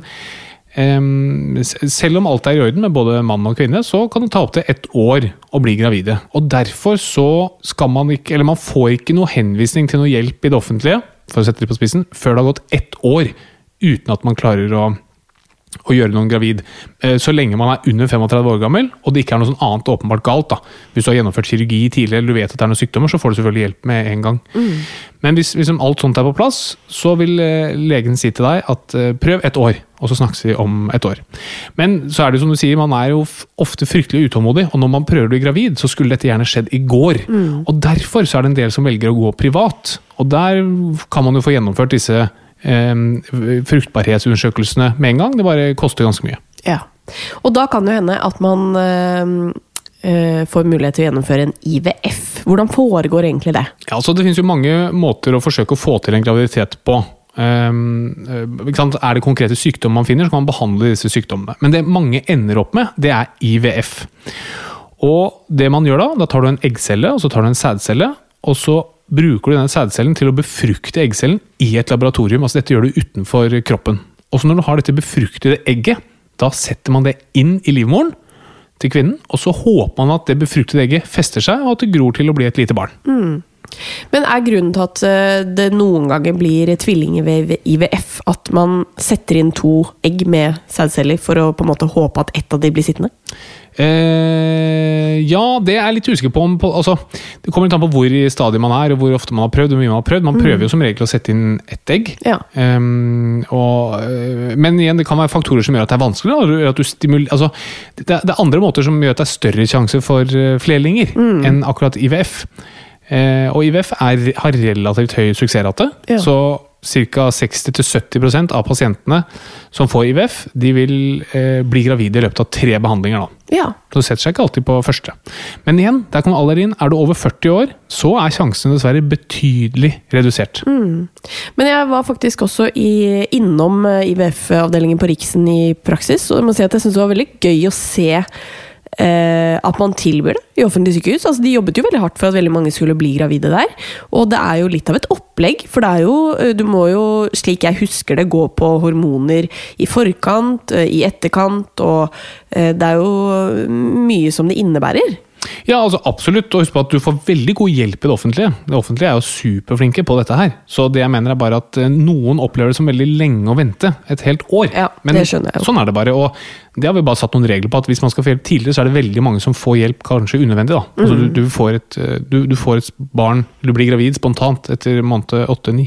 [SPEAKER 2] ehm, s- selv om alt er i orden med både mann og kvinne, så kan det ta opptil ett år å bli gravide. Og derfor så skal man ikke Eller man får ikke noe henvisning til noe hjelp i det offentlige, for å sette det på spissen, før det har gått ett år uten at man klarer å å gjøre noen gravid, eh, så lenge man er under 35 år gammel, og det ikke er noe sånn annet åpenbart galt. da. Hvis du har gjennomført kirurgi tidligere, eller du vet at det er noen sykdommer, så får du selvfølgelig hjelp med en gang. Men hvis, hvis alt sånt er på plass, så vil eh, legen si til deg at eh, prøv et år, og så snakkes vi om et år. Men så er det jo som du sier, man er jo f- ofte fryktelig utålmodig, og når man prøver å bli gravid, så skulle dette gjerne skjedd i går. Og derfor så er det en del som velger å gå privat, og der kan man jo få gjennomført disse eh, fruktbarhetsundersøkelsene med en gang. Det bare koster ganske mye.
[SPEAKER 1] Ja. Og da kan det jo hende at man eh, eh, får mulighet til å gjennomføre en IVF. Hvordan foregår egentlig det?
[SPEAKER 2] Ja, altså Det finnes jo mange måter å forsøke å få til en graviditet på. Ehm, eh, ikke sant? Er det konkrete sykdommer man finner, så kan man behandle disse sykdommene. Men det mange ender opp med, det er IVF. Og det man gjør da, da tar du en eggcelle og så tar du en sædcelle. Og så bruker du denne sædcellen til å befrukte eggcellen i et laboratorium. altså Dette gjør du utenfor kroppen. Og så når du har dette befruktede egget, da setter man det inn i livmoren til kvinnen, og så håper man at det befruktede egget fester seg, og at det gror til å bli et lite barn.
[SPEAKER 1] Men er grunnen til at eh, det noen ganger blir tvillinger ved IVF, at man setter inn to egg med sædceller for å på en måte håpe at ett av de blir sittende?
[SPEAKER 2] Eh, ja, det er jeg litt usikker på. Om, på altså, det kommer litt an på hvor i stadiet man er, og hvor ofte man har prøvd. hvor mye Man har prøvd. Man prøver jo som regel å sette inn ett egg.
[SPEAKER 1] Mm. Ja.
[SPEAKER 2] Ehm, og, eh, men igjen, det kan være faktorer som gjør at det er vanskelig. da, eller At du stimul- altså, det, det er andre måter som gjør at det er større sjanse for eh, flerlinger
[SPEAKER 1] Mm.
[SPEAKER 2] enn akkurat IVF. Eh, og IVF er, har relativt høy suksessrate.
[SPEAKER 1] Ja.
[SPEAKER 2] Så ca. 60-70 av pasientene som får IVF, de vil eh, bli gravide i løpet av tre behandlinger. da.
[SPEAKER 1] Ja.
[SPEAKER 2] Så det setter seg ikke alltid på første. Men igjen, der kommer alder inn. Er du over 40 år, så er sjansene dessverre betydelig redusert.
[SPEAKER 1] Mm. Men jeg var faktisk også i, innom eh, IVF-avdelingen på Riksen i praksis, og jeg må si at jeg syns det var veldig gøy å se eh, at man tilbyr det i offentlige sykehus. Altså, de jobbet jo veldig hardt for at veldig mange skulle bli gravide der. Og det er jo litt av et opplegg, for det er jo, eh, du må jo, slik jeg husker det, gå på hormoner i forkant, eh, i etterkant, og eh, det er jo mye som det innebærer.
[SPEAKER 2] Ja, altså absolutt. Og husk på at du får veldig god hjelp i det offentlige. Det offentlige er jo superflinke på dette her. Så det jeg mener er bare at eh, noen opplever det som veldig lenge å vente. Et helt år.
[SPEAKER 1] Ja,
[SPEAKER 2] Men
[SPEAKER 1] det skjønner jeg jo.
[SPEAKER 2] sånn er det bare. Og det har vi bare satt noen regler på at hvis man skal få hjelp tidligere, så er det veldig mange som får hjelp kanskje unødvendig. da. Altså, du, du, får et, eh, du, du får et barn, du blir gravid spontant etter måned åtte-ni.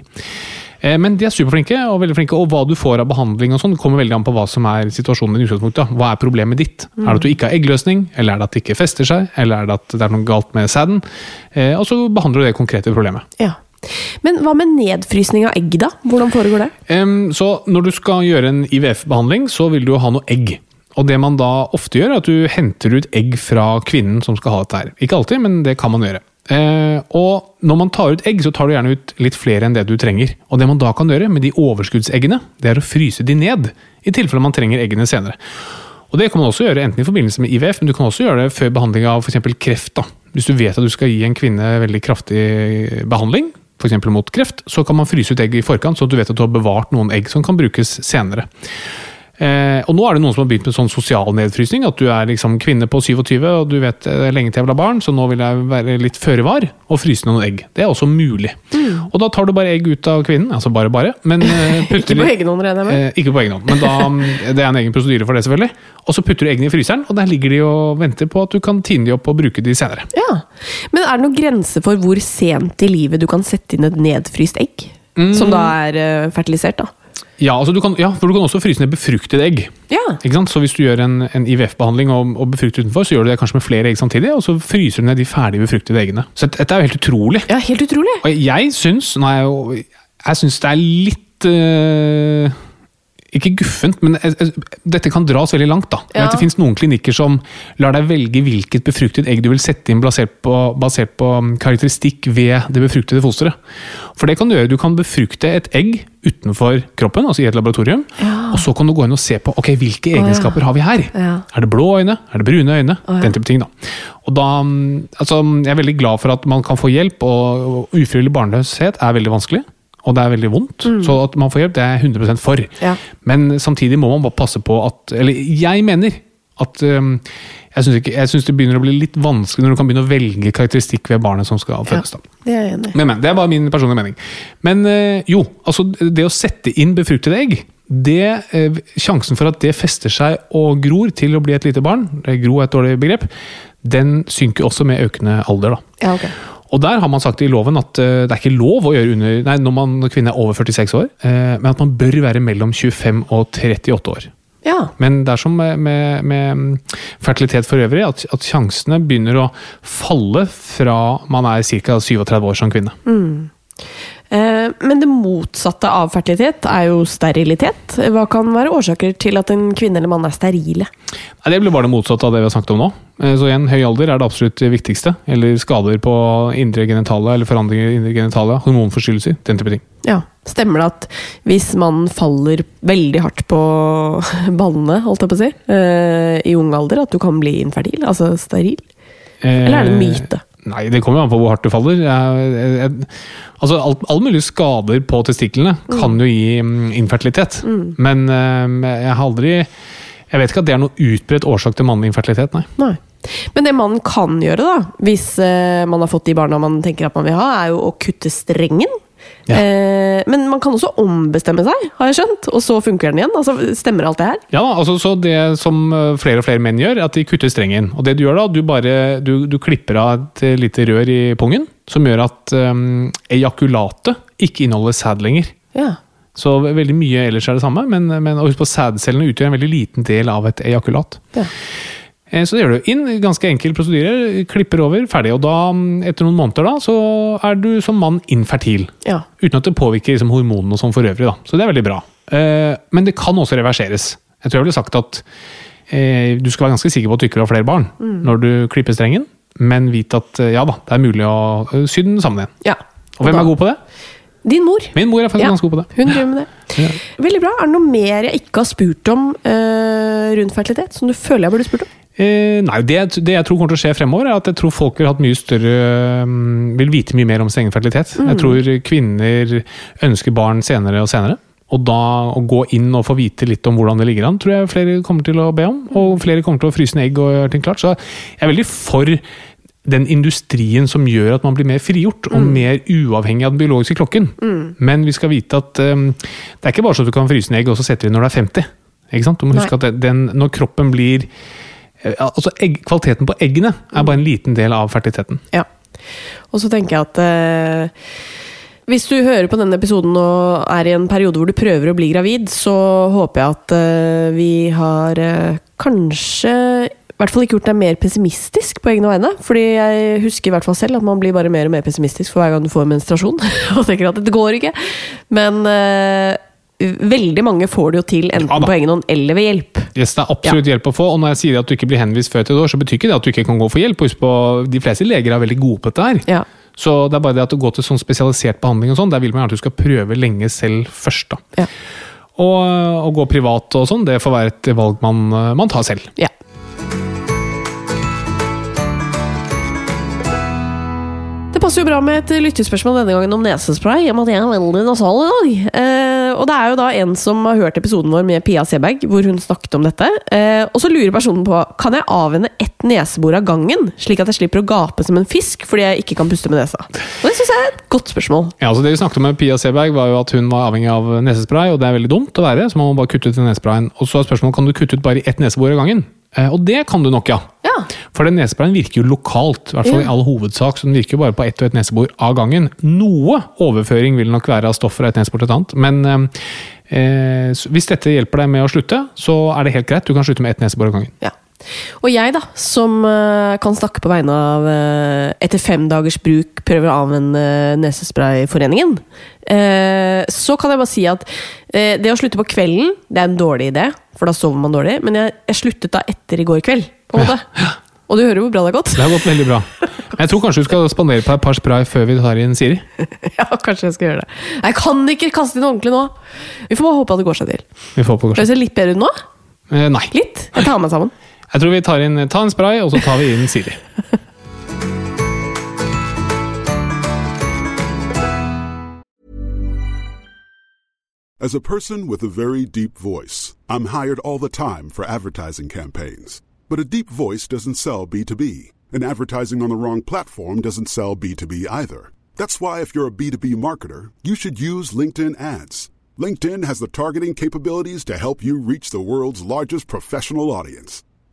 [SPEAKER 2] Eh, Men de er superflinke, og veldig flinke, og hva du får av behandling og sånn, det kommer veldig an på hva som er situasjonen din. i utgangspunktet. da. Hva er problemet ditt? Er det at du ikke har eggløsning, eller er det at det ikke fester seg, eller er det at det er noe galt med sæden? Eh, Og så behandler du det konkrete problemet.
[SPEAKER 1] Ja. Men hva med nedfrysning av egg, da? Hvordan foregår det?
[SPEAKER 2] Em, så når du skal gjøre en IVF-behandling, så vil du jo ha noe egg. Og det man da ofte gjør, er at du henter ut egg fra kvinnen som skal ha dette her. Ikke alltid, men det kan man gjøre. Eh, og når man tar ut egg, så tar du gjerne ut litt flere enn det du trenger. Og det man da kan gjøre med de overskuddseggene, det er å fryse de ned. I tilfelle man trenger eggene senere. Og det kan man også gjøre enten i forbindelse med IVF, men du kan også gjøre det før behandling av for eksempel kreft. Da. Hvis du vet at du skal gi en kvinne veldig kraftig behandling, f.eks. mot kreft, så kan man fryse ut egg i forkant, så at du vet at du har bevart noen egg som kan brukes senere. Eh, og nå er det noen som har begynt med sånn sosial nedfrysning. At du er liksom kvinne på 27 og du vet eh, det er lenge til jeg vil ha barn, så nå vil jeg være litt føre var og fryse noen egg. Det er også mulig.
[SPEAKER 1] Mm.
[SPEAKER 2] Og da tar du bare egg ut av kvinnen. Altså bare, bare. Men eh,
[SPEAKER 1] Ikke
[SPEAKER 2] putter
[SPEAKER 1] på
[SPEAKER 2] litt-
[SPEAKER 1] egen hånd, regner jeg med?
[SPEAKER 2] Eh, ikke på egen hånd, men da, mm, det er en egen prosedyre for det, selvfølgelig. Og så putter du eggene i fryseren, og der ligger de og venter på at du kan tine de opp og bruke de senere.
[SPEAKER 1] Ja, Men er det noen grense for hvor sent i livet du kan sette inn et nedfryst egg? Som da er eh, fertilisert, da.
[SPEAKER 2] Ja, altså du kan, ja, for du kan også fryse ned befruktede egg.
[SPEAKER 1] Ja.
[SPEAKER 2] Ikke sant? Så hvis du gjør en, en IVF-behandling og, og befrukter utenfor, så gjør du det kanskje med flere egg samtidig, og så fryser du ned de ferdig befruktede eggene. Så dette er jo helt utrolig.
[SPEAKER 1] ja, helt utrolig!
[SPEAKER 2] Og jeg syns Nå er jeg jo Jeg syns det er litt eh, Ikke guffent, men jeg, jeg, dette kan dras veldig langt. da. Jeg
[SPEAKER 1] Ja.
[SPEAKER 2] vet Det finnes noen klinikker som lar deg velge hvilket befruktet egg du vil sette inn basert på, basert på mm, karakteristikk ved det befruktede fosteret. For det kan Du gjøre. Du kan befrukte et egg utenfor kroppen, altså i et laboratorium. Og så kan du gå inn og se på ok, hvilke egenskaper har vi her.
[SPEAKER 1] Ja.
[SPEAKER 2] Er det blå øyne? Er det brune øyne? Den type ting, da. Og da mm, altså, jeg er veldig glad for at man kan få hjelp, og og ufrivillig barnløshet er veldig vanskelig. Og det er veldig vondt, så at man får hjelp, det er jeg 100 for.
[SPEAKER 1] Mm. Ja.
[SPEAKER 2] Men samtidig må man bare passe på at Eller jeg mener at um, Jeg syns ikke- jeg syns det begynner å bli litt vanskelig når du kan begynne å velge karakteristikk ved barnet som skal fødes. da.
[SPEAKER 1] Det er jeg enig i.
[SPEAKER 2] Men, men, det var min personlige mening. Men eh, jo, altså det å sette inn befruktede egg det, eh, Sjansen for at det fester seg og gror til å bli et lite barn, det gro er et dårlig begrep, den synker også med økende alder. da.
[SPEAKER 1] Ja, ok.
[SPEAKER 2] Og der har man sagt i loven at eh, det er ikke lov å gjøre under, nei, når, man, når kvinne er over 46 år, eh, men at man bør være mellom 25 og 38 år.
[SPEAKER 1] Ja.
[SPEAKER 2] Men det er som med, med, med fertilitet for øvrig, at, at sjansene begynner å falle fra man er ca. 37 år som kvinne.
[SPEAKER 1] Eh, Men det motsatte av fertilitet er jo sterilitet. Hva kan være årsaker til at en kvinne eller mann er sterile?
[SPEAKER 2] Nei, Det blir bare det motsatte av det vi har snakket om nå. Eh, Så igjen, høy alder er det absolutt viktigste. Eller skader på indre genitalia, eller forandringer i indre genitalia, hormonforstyrrelser, den type ting.
[SPEAKER 1] Ja. Stemmer det at hvis mannen faller veldig hardt på ballene, holdt jeg på å si, eh, i ung alder, at du kan bli infertil? Altså steril? Eller er det en myte?
[SPEAKER 2] Eh, Nei, det kommer jo an på hvor hardt du faller. Jeg, jeg, jeg, altså, alt, Alle mulige skader mm,
[SPEAKER 1] Mm.
[SPEAKER 2] på testiklene kan jo gi mm, infertilitet. Men eh, jeg har aldri Jeg vet ikke at det er noe utbredt årsak til mannlig infertilitet, nei.
[SPEAKER 1] Nei. Men det man kan gjøre, da, hvis eh, man har fått de barna man tenker at man vil ha, er jo å kutte strengen.
[SPEAKER 2] Ja.
[SPEAKER 1] Eh, men man kan også ombestemme seg, har jeg skjønt. Og så funker den igjen. Altså, stemmer alt det her?
[SPEAKER 2] Ja, da, altså, så det som eh, flere og flere menn gjør, er at de kutter strengen. Og det du gjør da, du bare du, du klipper av et eh, lite rør i pungen, som gjør at um, ejakulatet ikke inneholder sæd lenger.
[SPEAKER 1] Ja.
[SPEAKER 2] Så ve- veldig mye ellers er det samme, men, men og husk på sædcellene utgjør en veldig liten del av et ejakulat.
[SPEAKER 1] Ja.
[SPEAKER 2] Eh, Så det gjør du inn, ganske enkel prosedyre, klipper over, ferdig. Og da, mm, etter noen måneder da, så er du som mann infertil.
[SPEAKER 1] ja.
[SPEAKER 2] Uten at det påvirker liksom, hormonene og sånn for øvrig. Da. Så det er veldig bra. Eh, men det kan også reverseres. Jeg tror jeg ville sagt at eh, du skal være ganske sikker på at du ikke vil ha flere barn
[SPEAKER 1] Mm.
[SPEAKER 2] når du klipper strengen, men vit at eh, ja da, det er mulig å eh, sy den sammen igjen.
[SPEAKER 1] ja.
[SPEAKER 2] Og hvem
[SPEAKER 1] da-
[SPEAKER 2] er god på det?
[SPEAKER 1] Din mor.
[SPEAKER 2] Min mor er faktisk
[SPEAKER 1] Ja,
[SPEAKER 2] ganske god på det.
[SPEAKER 1] Hun driver med det. Veldig bra. Er det noe mer jeg ikke har spurt om eh, rundt fertilitet, som du føler jeg burde spurt om?
[SPEAKER 2] Eh, nei, det, jeg- det jeg tror kommer til å skje fremover, er at jeg tror folk vil, hatt mye større, mm, vil vite mye mer om sin egen fertilitet. Jeg tror kvinner ønsker barn senere og senere. Og da å gå inn og få vite litt om hvordan det ligger an, tror jeg flere kommer til å be om. Og flere kommer til å fryse ned egg og gjøre ting klart. Så jeg er veldig for den industrien som gjør at man blir mer frigjort og mer uavhengig av den biologiske klokken. Men vi skal vite at eh, det er ikke bare så at du kan fryse ned egg og så setter du inn når du er 50. Ikke sant? Du må huske at den, når kroppen blir Eh, Altså, egg, Kvaliteten på eggene er bare en liten del av fertiliteten.
[SPEAKER 1] Ja. Og så tenker jeg at eh, hvis du hører på denne episoden og er i en periode hvor du prøver å bli gravid, så håper jeg at eh, vi har eh, kanskje i hvert fall ikke gjort deg mer pessimistisk på egne vegne. Fordi jeg husker i hvert fall selv at man blir bare mer og mer pessimistisk for hver gang du får menstruasjon. og tenker at det går ikke. Men eh, veldig mange får det jo til enten
[SPEAKER 2] Ja da.
[SPEAKER 1] på egen hånd eller ved hjelp.
[SPEAKER 2] Yes, det er absolutt hjelp å få, og når jeg sier at du ikke blir henvist før til et år, så betyr ikke det at du ikke kan gå for hjelp. Husk på, de fleste leger er veldig gode på dette her.
[SPEAKER 1] Ja.
[SPEAKER 2] Så det er bare det at å gå til sånn spesialisert behandling og sånn, der vil man gjerne at du skal prøve lenge selv først.
[SPEAKER 1] Ja.
[SPEAKER 2] da. Og eh, å gå privat og sånn, det får være et valg man, eh, man tar selv.
[SPEAKER 1] ja. Det passer jo bra med et lyttespørsmål denne gangen om nesespray. i og med at jeg er veldig nasal i dag. Eh, og det er jo da en som har hørt episoden vår med Pia Seberg, hvor hun snakket om dette. Eh, og så lurer personen på kan jeg avvenne ett nesebor av gangen, slik at jeg slipper å gape som en fisk fordi jeg ikke kan puste med nesa. Og Det syns jeg er et godt spørsmål.
[SPEAKER 2] Ja, altså Det vi snakket om med Pia Seberg, var jo at hun var avhengig av nesespray, og det er veldig dumt å være, så man må bare kutte ut den nesesprayen. Og så er spørsmålet kan du kutte ut bare ett nesebor av gangen. Eh, Og det kan du nok, ja.
[SPEAKER 1] Ja.
[SPEAKER 2] For den nesesprayen virker jo lokalt, i hvert fall
[SPEAKER 1] Ja.
[SPEAKER 2] i all hovedsak. Så den virker jo bare på ett og ett nesebor av gangen. Noe overføring vil nok være av stoff fra et nesebor til et annet, men eh, eh, så hvis dette hjelper deg med å slutte, så er det helt greit. Du kan slutte med ett nesebor av gangen.
[SPEAKER 1] Ja. Og jeg, da, som eh, kan snakke på vegne av eh, etter fem dagers bruk prøver å anvende eh, Nesesprayforeningen, eh, så kan jeg bare si at eh, det å slutte på kvelden, det er en dårlig idé, for da sover man dårlig. Men jeg, jeg sluttet da etter i går kveld, på en måte. Og du hører hvor bra det har gått?
[SPEAKER 2] Det har gått veldig bra. Men jeg tror kanskje du skal spandere på deg et par spray før vi tar inn Siri.
[SPEAKER 1] ja, kanskje jeg skal gjøre det. Jeg kan ikke kaste inn ordentlig nå! Vi får bare håpe at det går seg til.
[SPEAKER 2] Vi får på
[SPEAKER 1] Høres det litt bedre ut nå?
[SPEAKER 2] Eh, Nei.
[SPEAKER 1] Litt? Jeg tar meg sammen.
[SPEAKER 2] Jeg tror vi tar inn, ta en spray, og så tar vi inn Siri.
[SPEAKER 4] As a person with a very deep voice, I'm hired all the time for advertising campaigns. But a deep voice doesn't sell B2B, and advertising on the wrong platform doesn't sell B2B either. That's why, if you're a B2B marketer, you should use LinkedIn ads. LinkedIn has the targeting capabilities to help you reach the world's largest professional audience.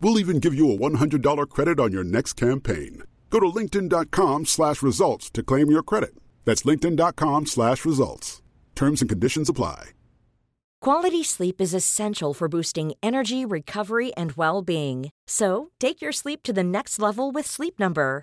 [SPEAKER 4] We'll even give you a $100 credit on your next campaign. Go to linkedin.com slash results to claim your credit. That's linkedin.com slash results. Terms and conditions apply.
[SPEAKER 5] Quality sleep is essential for boosting energy, recovery, and well being. So, take your sleep to the next level with Sleep Number.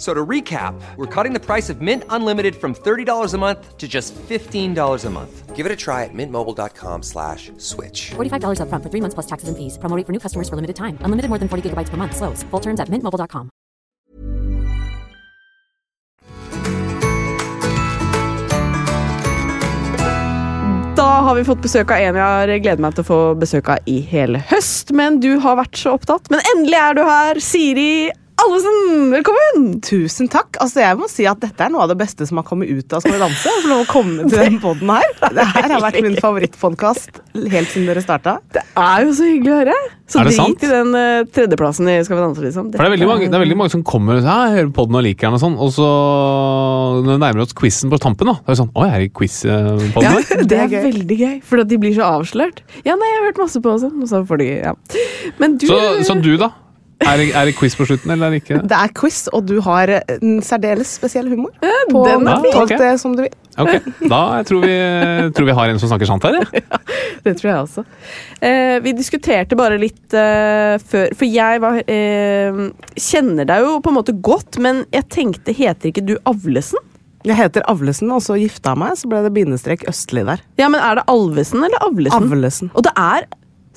[SPEAKER 6] So to recap, we're cutting the price of Mint Unlimited from $30 a month to just $15 a month. Give it a try at mintmobile.com slash switch.
[SPEAKER 7] $45 upfront for three months plus taxes and fees. Promo rate for new customers for limited time. Unlimited more than 40 gigabytes per month. Slows. Full terms at mintmobile.com.
[SPEAKER 1] Da har vi fått besøk av en jeg har gledet meg til å få besøk av i hele høst. Men du har vært så opptatt. Men endelig er du her, Siri Allesen! Velkommen!
[SPEAKER 8] Tusen takk. Altså, jeg må si at Dette er noe av det beste som har kommet ut av Skal vi danse. å få lov å komme til den podden her. Det her har vært min favorittpodkast helt siden dere starta.
[SPEAKER 1] Det er jo så hyggelig å høre. Så
[SPEAKER 2] Er det
[SPEAKER 1] drit
[SPEAKER 2] sant?
[SPEAKER 1] i den eh, tredjeplassen i Skal vi danse, liksom.
[SPEAKER 2] For det er, veldig
[SPEAKER 1] Dette
[SPEAKER 2] mange, det er veldig mange som kommer og sier, «Ja, jeg hører på den og liker den, og sånn, og så når vi nærmer oss quizen på tampen, da, da er det sånn Å, jeg er i eh, quiz-poden
[SPEAKER 1] Ja,
[SPEAKER 2] her?
[SPEAKER 1] det er
[SPEAKER 8] gøy.
[SPEAKER 1] veldig gøy, for de blir så avslørt. Ja, nei, jeg har hørt masse på også. Og så får de, ja. Men du
[SPEAKER 2] Så, så du, da? Er det, er det quiz på slutten, eller er det ikke?
[SPEAKER 8] Det er quiz, og du har en særdeles spesiell humor. På
[SPEAKER 1] den er
[SPEAKER 2] fin.
[SPEAKER 8] alt det som du vil.
[SPEAKER 2] Ah, Ok, da jeg tror vi, tror vi har en som snakker sant her. jeg.
[SPEAKER 1] Det tror jeg også. Eh, vi diskuterte bare litt eh, før For jeg var eh, Kjenner deg jo på en måte godt, men jeg tenkte Heter ikke du Avlesen?
[SPEAKER 8] Jeg heter Avlesen, og så gifta jeg meg, så ble det bindestrek Østli der.
[SPEAKER 1] Ja, men er det Alvesen eller Avlesen?
[SPEAKER 8] Avlesen.
[SPEAKER 1] Og det er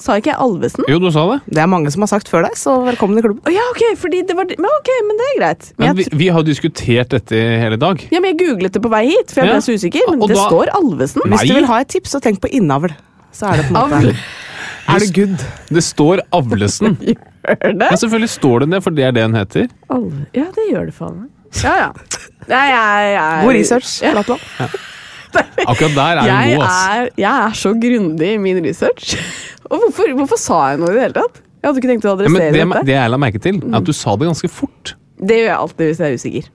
[SPEAKER 1] Sa ikke jeg Alvesen?
[SPEAKER 2] Jo, du sa det.
[SPEAKER 8] Det er mange som har sagt før deg, så velkommen i klubben.
[SPEAKER 1] Å ja, ok, fordi det var det- Men ok, men det er greit.
[SPEAKER 2] Men
[SPEAKER 1] Men
[SPEAKER 2] vi,
[SPEAKER 1] jeg, tr-
[SPEAKER 2] vi har jo diskutert dette i hele dag.
[SPEAKER 1] ja, men jeg googlet det på vei hit, for jeg
[SPEAKER 2] Ja.
[SPEAKER 1] ble så usikker. Men
[SPEAKER 2] Og
[SPEAKER 1] det
[SPEAKER 2] da-
[SPEAKER 1] står Alvesen.
[SPEAKER 8] Hvis du
[SPEAKER 2] Nei.
[SPEAKER 8] vil ha et tips, så tenk på innavl. Så er det på en måte
[SPEAKER 1] Avl.
[SPEAKER 8] Er det good?
[SPEAKER 2] Det står Avlesen.
[SPEAKER 1] Gjør det?
[SPEAKER 2] Ja, selvfølgelig står det det, for det er det hun heter.
[SPEAKER 1] Alve- Ja, det gjør det faen meg. Ja, ja. Nei, jeg, jeg,
[SPEAKER 8] God research. Flatland.
[SPEAKER 2] Akkurat der er
[SPEAKER 1] jeg
[SPEAKER 2] hun god, ass.
[SPEAKER 1] er, jeg er så grundig i min research. Og hvorfor, hvorfor sa jeg noe i det hele tatt? Jeg hadde ikke tenkt å
[SPEAKER 2] Ja, men
[SPEAKER 1] adressere
[SPEAKER 2] det,
[SPEAKER 1] dette.
[SPEAKER 2] det jeg la merke til, er at du sa det ganske fort.
[SPEAKER 1] Det, gjør jeg alltid hvis jeg er usikker.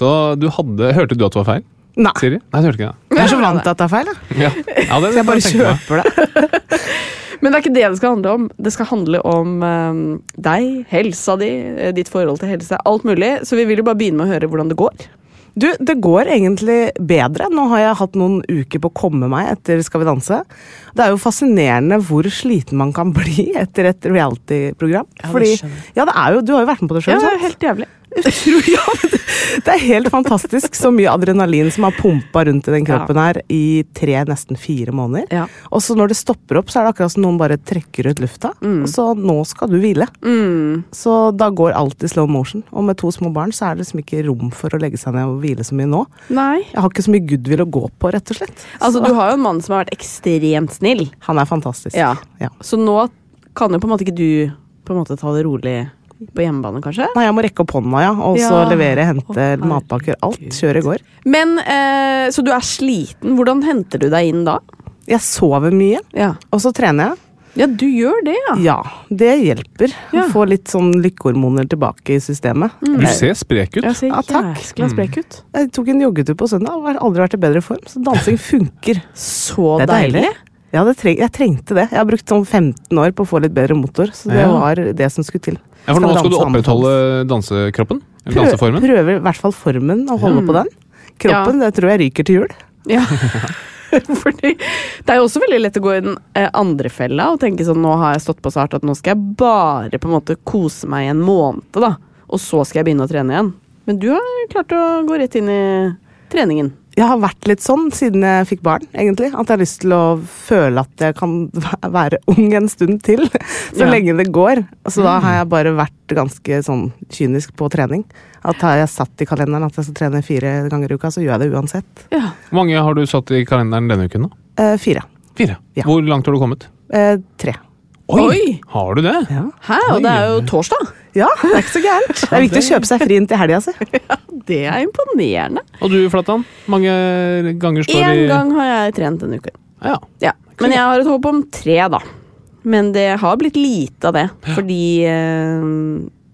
[SPEAKER 2] Så du hadde Hørte du at det var feil?
[SPEAKER 8] Nei.
[SPEAKER 2] Siri? Nei, du hørte ikke det.
[SPEAKER 8] Jeg er så vant til at det er feil. Jeg,
[SPEAKER 2] Ja. Ja, det,
[SPEAKER 8] jeg bare
[SPEAKER 2] tenkte meg.
[SPEAKER 8] kjøper det.
[SPEAKER 1] Men det er ikke det det skal handle om. Det skal handle om eh, deg, helsa di, eh, ditt forhold til helse, alt mulig. Så vi vil jo bare begynne med å høre hvordan det går.
[SPEAKER 8] Du, det går egentlig bedre. Nå har jeg hatt noen uker på å komme meg etter Skal vi danse. Det er jo fascinerende hvor sliten man kan bli etter et reality-program.
[SPEAKER 1] det
[SPEAKER 8] Fordi-
[SPEAKER 1] skjønner jeg.
[SPEAKER 8] ja, det er jo, du har jo vært med på det
[SPEAKER 1] Ja,
[SPEAKER 8] sjøl,
[SPEAKER 1] det er helt jævlig.
[SPEAKER 8] Utrolig. Ja, men det- det er helt fantastisk så mye adrenalin som har pumpa rundt i den kroppen her i tre, nesten fire måneder.
[SPEAKER 1] Ja.
[SPEAKER 8] Og så når det stopper opp, så er det akkurat som noen bare trekker ut lufta.
[SPEAKER 1] Mm.
[SPEAKER 8] Og så nå skal du hvile. Så da går alt i slow motion. Og med to små barn så er det liksom ikke rom for å legge seg ned og hvile så mye nå.
[SPEAKER 1] Nei.
[SPEAKER 8] Jeg har ikke så mye goodwill å gå på, rett og slett.
[SPEAKER 1] Altså,
[SPEAKER 8] Så-
[SPEAKER 1] du har jo en mann som har vært ekstremt snill.
[SPEAKER 8] Han er fantastisk.
[SPEAKER 1] Ja.
[SPEAKER 8] Ja.
[SPEAKER 1] Så nå kan jo på en måte ikke du på en måte ta det rolig på hjemmebane, kanskje?
[SPEAKER 8] Nei, jeg må rekke opp hånda, ja. Og så
[SPEAKER 1] Ja.
[SPEAKER 8] levere,
[SPEAKER 1] Å,
[SPEAKER 8] hente matpakker. Alt. Kjøret går.
[SPEAKER 1] Men, eh, Så du er sliten. Hvordan henter du deg inn da?
[SPEAKER 8] Jeg sover mye,
[SPEAKER 1] Ja,
[SPEAKER 8] og så trener jeg.
[SPEAKER 1] ja du gjør det, ja.
[SPEAKER 8] Ja, det hjelper.
[SPEAKER 1] Ja.
[SPEAKER 8] Å få litt sånn lykkehormoner tilbake i systemet.
[SPEAKER 2] Du ser sprek ut.
[SPEAKER 1] Jeg ser
[SPEAKER 8] Ja, takk.
[SPEAKER 1] jæskla sprek ut.
[SPEAKER 8] Jeg tok en joggetur på søndag og har aldri vært i bedre form, så dansing funker.
[SPEAKER 1] Så
[SPEAKER 8] Det er
[SPEAKER 1] deilig.
[SPEAKER 8] deilig. Ja, det treng, jeg trengte det. Jeg har brukt sånn 15 år på å få litt bedre motor, så det
[SPEAKER 2] Ja.
[SPEAKER 8] var det som skulle til.
[SPEAKER 2] Ja, for nå skal du
[SPEAKER 8] danse
[SPEAKER 2] opprettholde dansekroppen? Eller
[SPEAKER 8] Prøv-
[SPEAKER 2] Danseformen? Hmm.
[SPEAKER 8] Prøver i hvert fall formen å holde på den. Kroppen det tror jeg ryker til jul.
[SPEAKER 1] Ja. Fordi det er jo også veldig lett å gå i den eh, andre fella og tenke sånn Nå har jeg stått på så hardt at nå skal jeg bare på en måte kose meg i en måned, da. Og så skal jeg begynne å trene igjen. Men du har klart å gå rett inn i treningen.
[SPEAKER 8] Jeg har vært litt sånn siden jeg fikk barn, egentlig. At jeg har lyst til å føle at jeg kan væ- være ung en stund til. Så
[SPEAKER 1] Ja.
[SPEAKER 8] lenge det går. Så da har jeg bare vært ganske sånn kynisk på trening. At har jeg satt i kalenderen at jeg skal trene fire ganger i uka, så gjør jeg det uansett.
[SPEAKER 1] Ja.
[SPEAKER 2] Hvor mange har du satt i kalenderen denne uken? da?
[SPEAKER 8] Eh, fire.
[SPEAKER 2] Fire.
[SPEAKER 8] Ja.
[SPEAKER 2] Hvor langt har du kommet?
[SPEAKER 8] Eh, tre.
[SPEAKER 1] Oi.
[SPEAKER 2] Har du det?
[SPEAKER 8] Ja.
[SPEAKER 1] Hæ, og det er jo torsdag.
[SPEAKER 8] ja, det er ikke så gærent. Det er viktig å kjøpe seg fri inn til helga si.
[SPEAKER 1] Det er imponerende.
[SPEAKER 2] Og du, Flatan? Mange ganger står
[SPEAKER 1] Én
[SPEAKER 2] i
[SPEAKER 1] gang har jeg trent denne uken.
[SPEAKER 2] Ja.
[SPEAKER 1] Ja. Men jeg har et håp om tre, da. Men det har blitt lite av det. Fordi eh,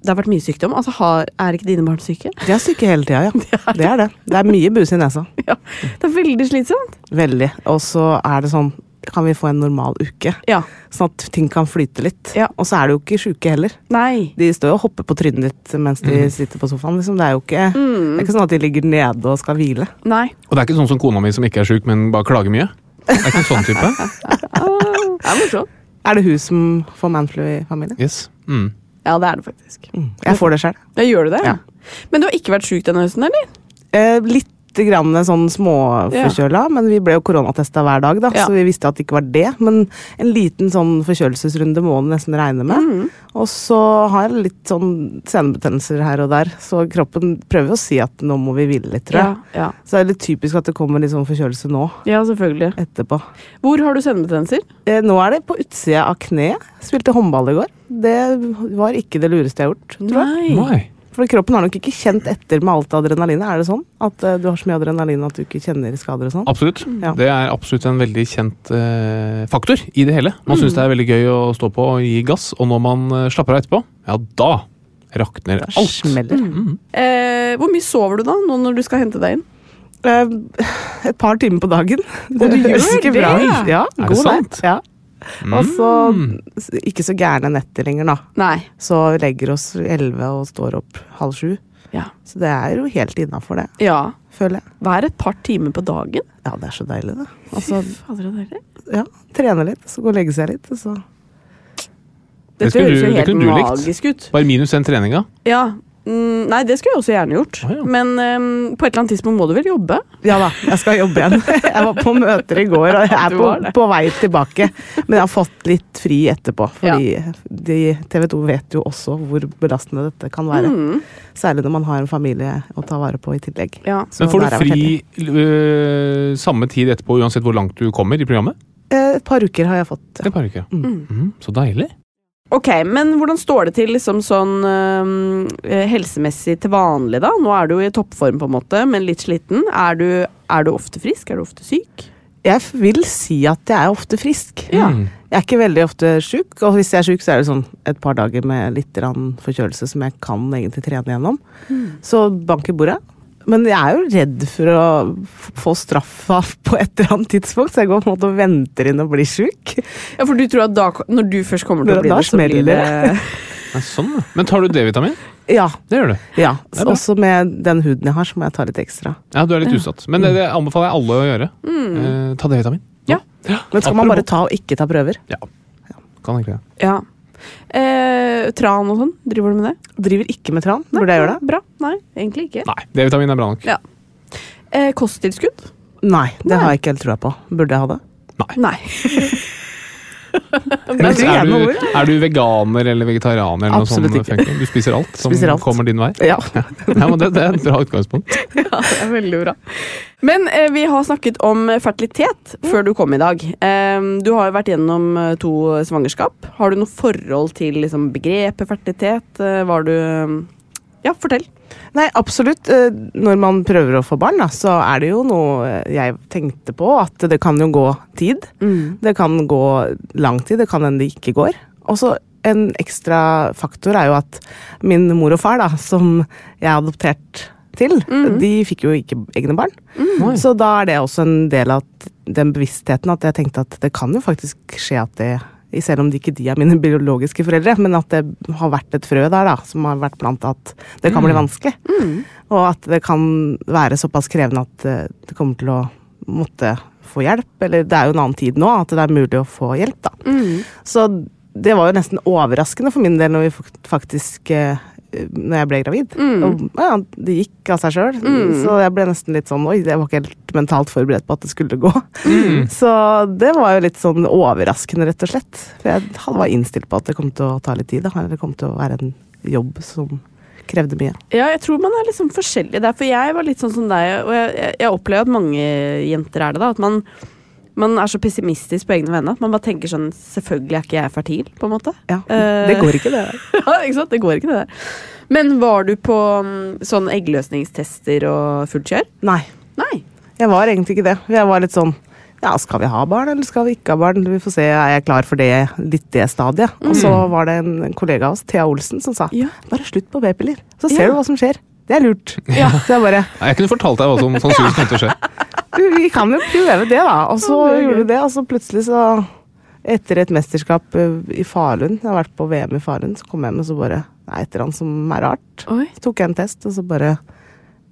[SPEAKER 1] det har vært mye sykdom. Altså, har, Er ikke dine barn syke?
[SPEAKER 8] De er syke hele tida, ja. Det er det. Det er mye buse i nesa.
[SPEAKER 1] Ja. Det er veldig slitsomt.
[SPEAKER 8] Veldig. Og så er det sånn Kan vi få en normal uke?
[SPEAKER 1] Ja.
[SPEAKER 8] Sånn at ting kan flyte litt.
[SPEAKER 1] Ja.
[SPEAKER 8] Og så er de jo ikke sjuke heller.
[SPEAKER 1] Nei.
[SPEAKER 8] De står jo og hopper på trynet ditt mens de sitter på sofaen. Liksom. Det, er jo ikke,
[SPEAKER 1] Mm.
[SPEAKER 8] det er ikke sånn at de ligger nede og skal hvile.
[SPEAKER 1] Nei.
[SPEAKER 2] Og det er ikke sånn som kona mi som ikke er sjuk, men bare klager mye? Det er ikke en sånn type?
[SPEAKER 1] Det er morsomt.
[SPEAKER 8] Er det hun som får manflu i familien?
[SPEAKER 2] Yes. Mm.
[SPEAKER 1] Ja, det er det faktisk.
[SPEAKER 8] Mm. Jeg får det sjøl.
[SPEAKER 1] Ja, gjør du det?
[SPEAKER 8] Ja.
[SPEAKER 1] Men du har ikke vært sjuk denne høsten, eller?
[SPEAKER 8] Eh, litt grann sånn småforkjøla, men vi ble jo koronatesta hver dag, da,
[SPEAKER 1] Ja.
[SPEAKER 8] så vi visste at det ikke var det. Men en liten sånn forkjølelsesrunde må en nesten regne
[SPEAKER 1] Mm.
[SPEAKER 8] med. Og så har jeg litt sånn senebetennelser her og der, så kroppen prøver å si at nå må vi hvile litt, tror jeg.
[SPEAKER 1] Ja, ja.
[SPEAKER 8] Så det er litt typisk at det kommer litt sånn forkjølelse nå.
[SPEAKER 1] ja selvfølgelig.
[SPEAKER 8] Etterpå.
[SPEAKER 1] Hvor har du sendebetennelser?
[SPEAKER 8] Eh, nå er det på utsida av kneet. Spilte håndball i går. Det var ikke det lureste jeg har gjort, tror jeg.
[SPEAKER 2] Nei.
[SPEAKER 8] For kroppen har nok ikke kjent etter med alt adrenalinet. Er det sånn? At eh, du har så mye adrenalin at du ikke kjenner skader og sånn?
[SPEAKER 2] Absolutt.
[SPEAKER 8] Ja.
[SPEAKER 2] Det er absolutt en veldig kjent eh, faktor i det hele. Man
[SPEAKER 8] Mm.
[SPEAKER 2] syns det er veldig gøy å stå på og gi gass, og når man eh, slapper av etterpå, ja, da rakner alt.
[SPEAKER 8] Smeller.
[SPEAKER 1] Eh, hvor mye sover du da, nå når du skal hente deg inn?
[SPEAKER 8] Eh, et par timer på dagen. Det
[SPEAKER 1] du
[SPEAKER 8] høres
[SPEAKER 1] gjør
[SPEAKER 8] ikke
[SPEAKER 1] det?
[SPEAKER 8] bra ut. Ja,
[SPEAKER 2] det
[SPEAKER 8] god
[SPEAKER 2] sant? Mm.
[SPEAKER 8] natt. Ja. Og så s- ikke så gærne netter lenger, da.
[SPEAKER 1] Nei.
[SPEAKER 8] Så vi legger oss elleve og står opp halv sju.
[SPEAKER 1] Ja.
[SPEAKER 8] Så det er jo helt innafor, det.
[SPEAKER 1] ja.
[SPEAKER 8] Føler jeg.
[SPEAKER 1] Hver et par timer på dagen?
[SPEAKER 8] Ja, det er så deilig, det.
[SPEAKER 1] Altså, fader, det er det.
[SPEAKER 8] Ja, Trene litt, så gå og legge seg litt. og Så.
[SPEAKER 2] Det
[SPEAKER 1] Dette
[SPEAKER 2] skulle
[SPEAKER 1] høres
[SPEAKER 2] du-
[SPEAKER 1] jo
[SPEAKER 2] det
[SPEAKER 1] helt
[SPEAKER 2] kunne du likt.
[SPEAKER 1] magisk ut.
[SPEAKER 2] Bare minus den treninga.
[SPEAKER 1] Ja. Mm, nei, det skulle jeg også gjerne gjort.
[SPEAKER 2] Å, ja.
[SPEAKER 1] Men ehm, på et eller annet tidspunkt må du vel jobbe?
[SPEAKER 8] Ja da, jeg skal jobbe igjen. Jeg var på møter i går og jeg er
[SPEAKER 1] Du
[SPEAKER 8] på,
[SPEAKER 1] var det.
[SPEAKER 8] på vei tilbake. Men jeg har fått litt fri etterpå, fordi de, TV 2 vet jo også hvor belastende dette kan være.
[SPEAKER 1] Mm,
[SPEAKER 8] Særlig når man har en familie å ta vare på i tillegg.
[SPEAKER 1] Ja.
[SPEAKER 8] Så
[SPEAKER 2] Men får
[SPEAKER 8] der
[SPEAKER 2] du
[SPEAKER 8] har jeg vært
[SPEAKER 2] fri
[SPEAKER 8] heldig.
[SPEAKER 2] eh, samme tid etterpå, uansett hvor langt du kommer i programmet?
[SPEAKER 8] Eh, Et par uker har jeg fått.
[SPEAKER 2] Det bare ikke. Mm, så deilig.
[SPEAKER 1] Ok, men hvordan står det til liksom sånn ehm, eh, helsemessig til vanlig, da? Nå er du jo i toppform, på en måte, men litt sliten. Er du, er du ofte frisk? Er du ofte syk?
[SPEAKER 8] Jeg f- vil si at jeg er ofte frisk.
[SPEAKER 1] Ja.
[SPEAKER 2] Mm.
[SPEAKER 8] Jeg er ikke veldig ofte sjuk, og hvis jeg er sjuk, så er det sånn et par dager med litt grann forkjølelse som jeg kan egentlig trene gjennom. Så bank i bordet. Men jeg er jo redd for å f- få straffa på et eller annet tidspunkt, så jeg går på en måte og venter inn og blir sjuk.
[SPEAKER 1] Ja, for du tror at da, når du først kommer til
[SPEAKER 8] Da-
[SPEAKER 1] å bli
[SPEAKER 8] da
[SPEAKER 1] det, så blir
[SPEAKER 8] smeller
[SPEAKER 1] det
[SPEAKER 2] Nei, sånn, ja. Men tar du D-vitamin?
[SPEAKER 8] Ja.
[SPEAKER 2] Det gjør du.
[SPEAKER 8] ja.
[SPEAKER 2] Det er bra.
[SPEAKER 8] Også med den huden jeg har, så må jeg ta litt ekstra.
[SPEAKER 2] Ja, du er litt utsatt. Men det, det anbefaler jeg alle å gjøre. Eh, ta D-vitamin.
[SPEAKER 1] Ja.
[SPEAKER 8] Men skal man
[SPEAKER 2] Apropos-
[SPEAKER 8] bare ta og ikke ta prøver?
[SPEAKER 2] Ja. Kan egentlig det.
[SPEAKER 1] Ja. Eh, tran og sånn, driver du med det?
[SPEAKER 8] Driver ikke med tran. Burde jeg gjøre det?
[SPEAKER 1] Bra. Nei, egentlig ikke.
[SPEAKER 2] Nei, D-vitamin er bra nok.
[SPEAKER 1] Ja. Eh, kosttilskudd?
[SPEAKER 8] Nei, det
[SPEAKER 1] Nei.
[SPEAKER 8] har jeg ikke helt trua på. Burde jeg ha det?
[SPEAKER 1] Nei.
[SPEAKER 2] Men
[SPEAKER 8] Jeg tror
[SPEAKER 2] er,
[SPEAKER 8] jeg må
[SPEAKER 2] du,
[SPEAKER 8] over.
[SPEAKER 2] er du veganer eller vegetarianer? Eller noe
[SPEAKER 8] Absolutt
[SPEAKER 2] sånt,
[SPEAKER 8] ikke.
[SPEAKER 2] Funky? Du spiser alt som
[SPEAKER 8] Spiser alt.
[SPEAKER 2] kommer din vei?
[SPEAKER 8] Ja.
[SPEAKER 2] Nei, men det, det er et bra utgangspunkt.
[SPEAKER 1] Ja, det er veldig bra. Men eh, vi har snakket om fertilitet før du kom i dag. Ehm, du har jo vært gjennom eh, to svangerskap. Har du noe forhold til liksom, begrepet fertilitet? Eh, var du Ja, fortell.
[SPEAKER 8] Nei, absolutt. Eh, Når man prøver å få barn, da, så er det jo noe eh, jeg tenkte på. At det kan jo gå tid.
[SPEAKER 1] Mm.
[SPEAKER 8] Det kan gå lang tid. Det kan hende det ikke går. Og så en ekstra faktor er jo at min mor og far, da, som jeg er adoptert til, de fikk jo ikke egne barn. Så da er det også en del av t- den bevisstheten at jeg tenkte at det kan jo faktisk skje at det i- selv om de ikke de er mine biologiske foreldre, men at det har vært et frø der da, som har vært blant at det kan bli vanskelig. Og at det kan være såpass krevende at eh, det kommer til å måtte få hjelp. Eller det er jo en annen tid nå, at det er mulig å få hjelp, da.
[SPEAKER 1] Mm.
[SPEAKER 8] Så det var jo nesten overraskende for min del når vi fak- faktisk eh, når jeg ble gravid. Og, ja, det gikk av seg sjøl. Så jeg ble nesten litt sånn Oi, jeg var ikke helt mentalt forberedt på at det skulle gå. Så det var jo litt sånn overraskende, rett og slett. For jeg had- var innstilt på at det kom til å ta litt tid. Da. eller Det kom til å være en jobb som krevde mye.
[SPEAKER 1] Ja, jeg tror man er liksom forskjellig der, for jeg var litt sånn som deg, og jeg, jeg, jeg opplever at mange jenter er det, da. At man Man er så pessimistisk på egne vegne at man bare tenker sånn Selvfølgelig er ikke jeg fertil, på en måte.
[SPEAKER 8] Ja,
[SPEAKER 1] Eh,
[SPEAKER 8] det går ikke, det.
[SPEAKER 1] ja, ikke sant? Det går ikke, det der. Men var du på mm, sånn eggløsningstester og fullt kjør?
[SPEAKER 8] Nei,
[SPEAKER 1] Nei.
[SPEAKER 8] jeg var egentlig ikke det. Jeg var litt sånn ja, skal vi ha barn, eller skal vi ikke ha barn? Vi får se, er jeg klar for det, litt det stadiet? Og så
[SPEAKER 1] Mm.
[SPEAKER 8] var det en kollega av oss, Thea Olsen, som sa
[SPEAKER 1] Ja.
[SPEAKER 8] bare slutt på p-piller, så ser
[SPEAKER 1] Ja.
[SPEAKER 8] du hva som skjer. Det er lurt. Så jeg bare
[SPEAKER 2] Nei, Jeg kunne fortalt deg hva som sannsynligvis kom til å skje.
[SPEAKER 8] Du, vi kan jo prøve det, da. Og så
[SPEAKER 1] Ja, det er
[SPEAKER 8] gjorde
[SPEAKER 1] gøy.
[SPEAKER 8] vi det, og så plutselig så Etter et mesterskap eh, i Falun, jeg har vært på VM i Falun, så kom jeg hjem og så bare Det er et eller annet som er rart.
[SPEAKER 1] Oi.
[SPEAKER 8] Så tok jeg en test, og så bare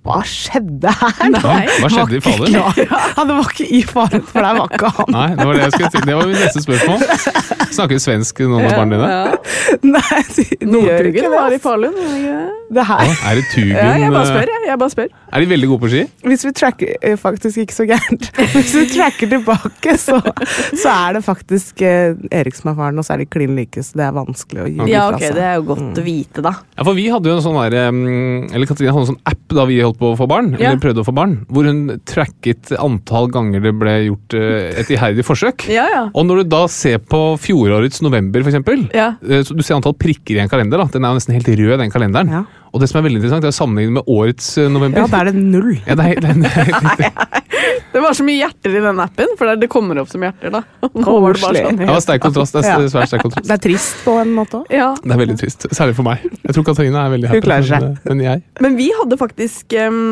[SPEAKER 8] Hva skjedde her?
[SPEAKER 2] Ja, hva skjedde i Falun?
[SPEAKER 8] Ja, ja, det var ikke i Falun, for der var ikke han.
[SPEAKER 2] Nei, det var det jeg skulle si. Det var mitt neste spørsmål. Snakker svensk noen av barna dine?
[SPEAKER 8] Nei, de, de gjør
[SPEAKER 1] Nordtrugen
[SPEAKER 8] ikke det.
[SPEAKER 1] var i
[SPEAKER 8] ass.
[SPEAKER 1] Falun. var det ikke det?
[SPEAKER 8] Det
[SPEAKER 2] Å,
[SPEAKER 8] her.
[SPEAKER 2] Er det Tugen?
[SPEAKER 1] Ja, jeg bare spør,
[SPEAKER 2] eh,
[SPEAKER 1] jeg. jeg bare spør.
[SPEAKER 2] Er de veldig gode på ski?
[SPEAKER 8] Hvis vi tracker eh, Faktisk ikke så gærent. Hvis vi tracker tilbake, så, så er det faktisk eh, Erik som er faren, og så er de klin like, så det er vanskelig å gi
[SPEAKER 1] Ja,
[SPEAKER 8] fra
[SPEAKER 1] ok,
[SPEAKER 8] seg.
[SPEAKER 1] Det er jo godt å vite, da.
[SPEAKER 2] Ja, for vi hadde jo en sånn der, um, eller Katrine hadde en sånn app da vi holdt på å få barn,
[SPEAKER 1] Ja.
[SPEAKER 2] eller prøvde å få barn, hvor hun tracket antall ganger det ble gjort eh, et iherdig forsøk.
[SPEAKER 1] Ja, ja.
[SPEAKER 2] Og når du da ser på fjorårets november, for eksempel,
[SPEAKER 1] Ja.
[SPEAKER 2] eh, så du ser antall prikker i en kalender, da. den er jo nesten helt rød, den kalenderen.
[SPEAKER 8] Ja.
[SPEAKER 2] Og det som er veldig interessant, er å sammenligne med årets eh, november.
[SPEAKER 8] Ja, da er det null.
[SPEAKER 2] Ja, det er, den, jeg
[SPEAKER 1] Det var så mye hjerter i den appen, for det, det kommer opp som hjerter, da. Nå var det bare sånn.
[SPEAKER 8] Koselig.
[SPEAKER 2] var sterk kontrast. Det er s- svært sterk kontrast.
[SPEAKER 8] Det er trist på en måte òg.
[SPEAKER 1] Ja.
[SPEAKER 2] Det er veldig trist. Særlig for meg. Jeg tror Katarina er veldig
[SPEAKER 8] Hun
[SPEAKER 2] happy.
[SPEAKER 8] klarer seg.
[SPEAKER 2] men, eh, Men jeg
[SPEAKER 1] Men vi hadde faktisk em,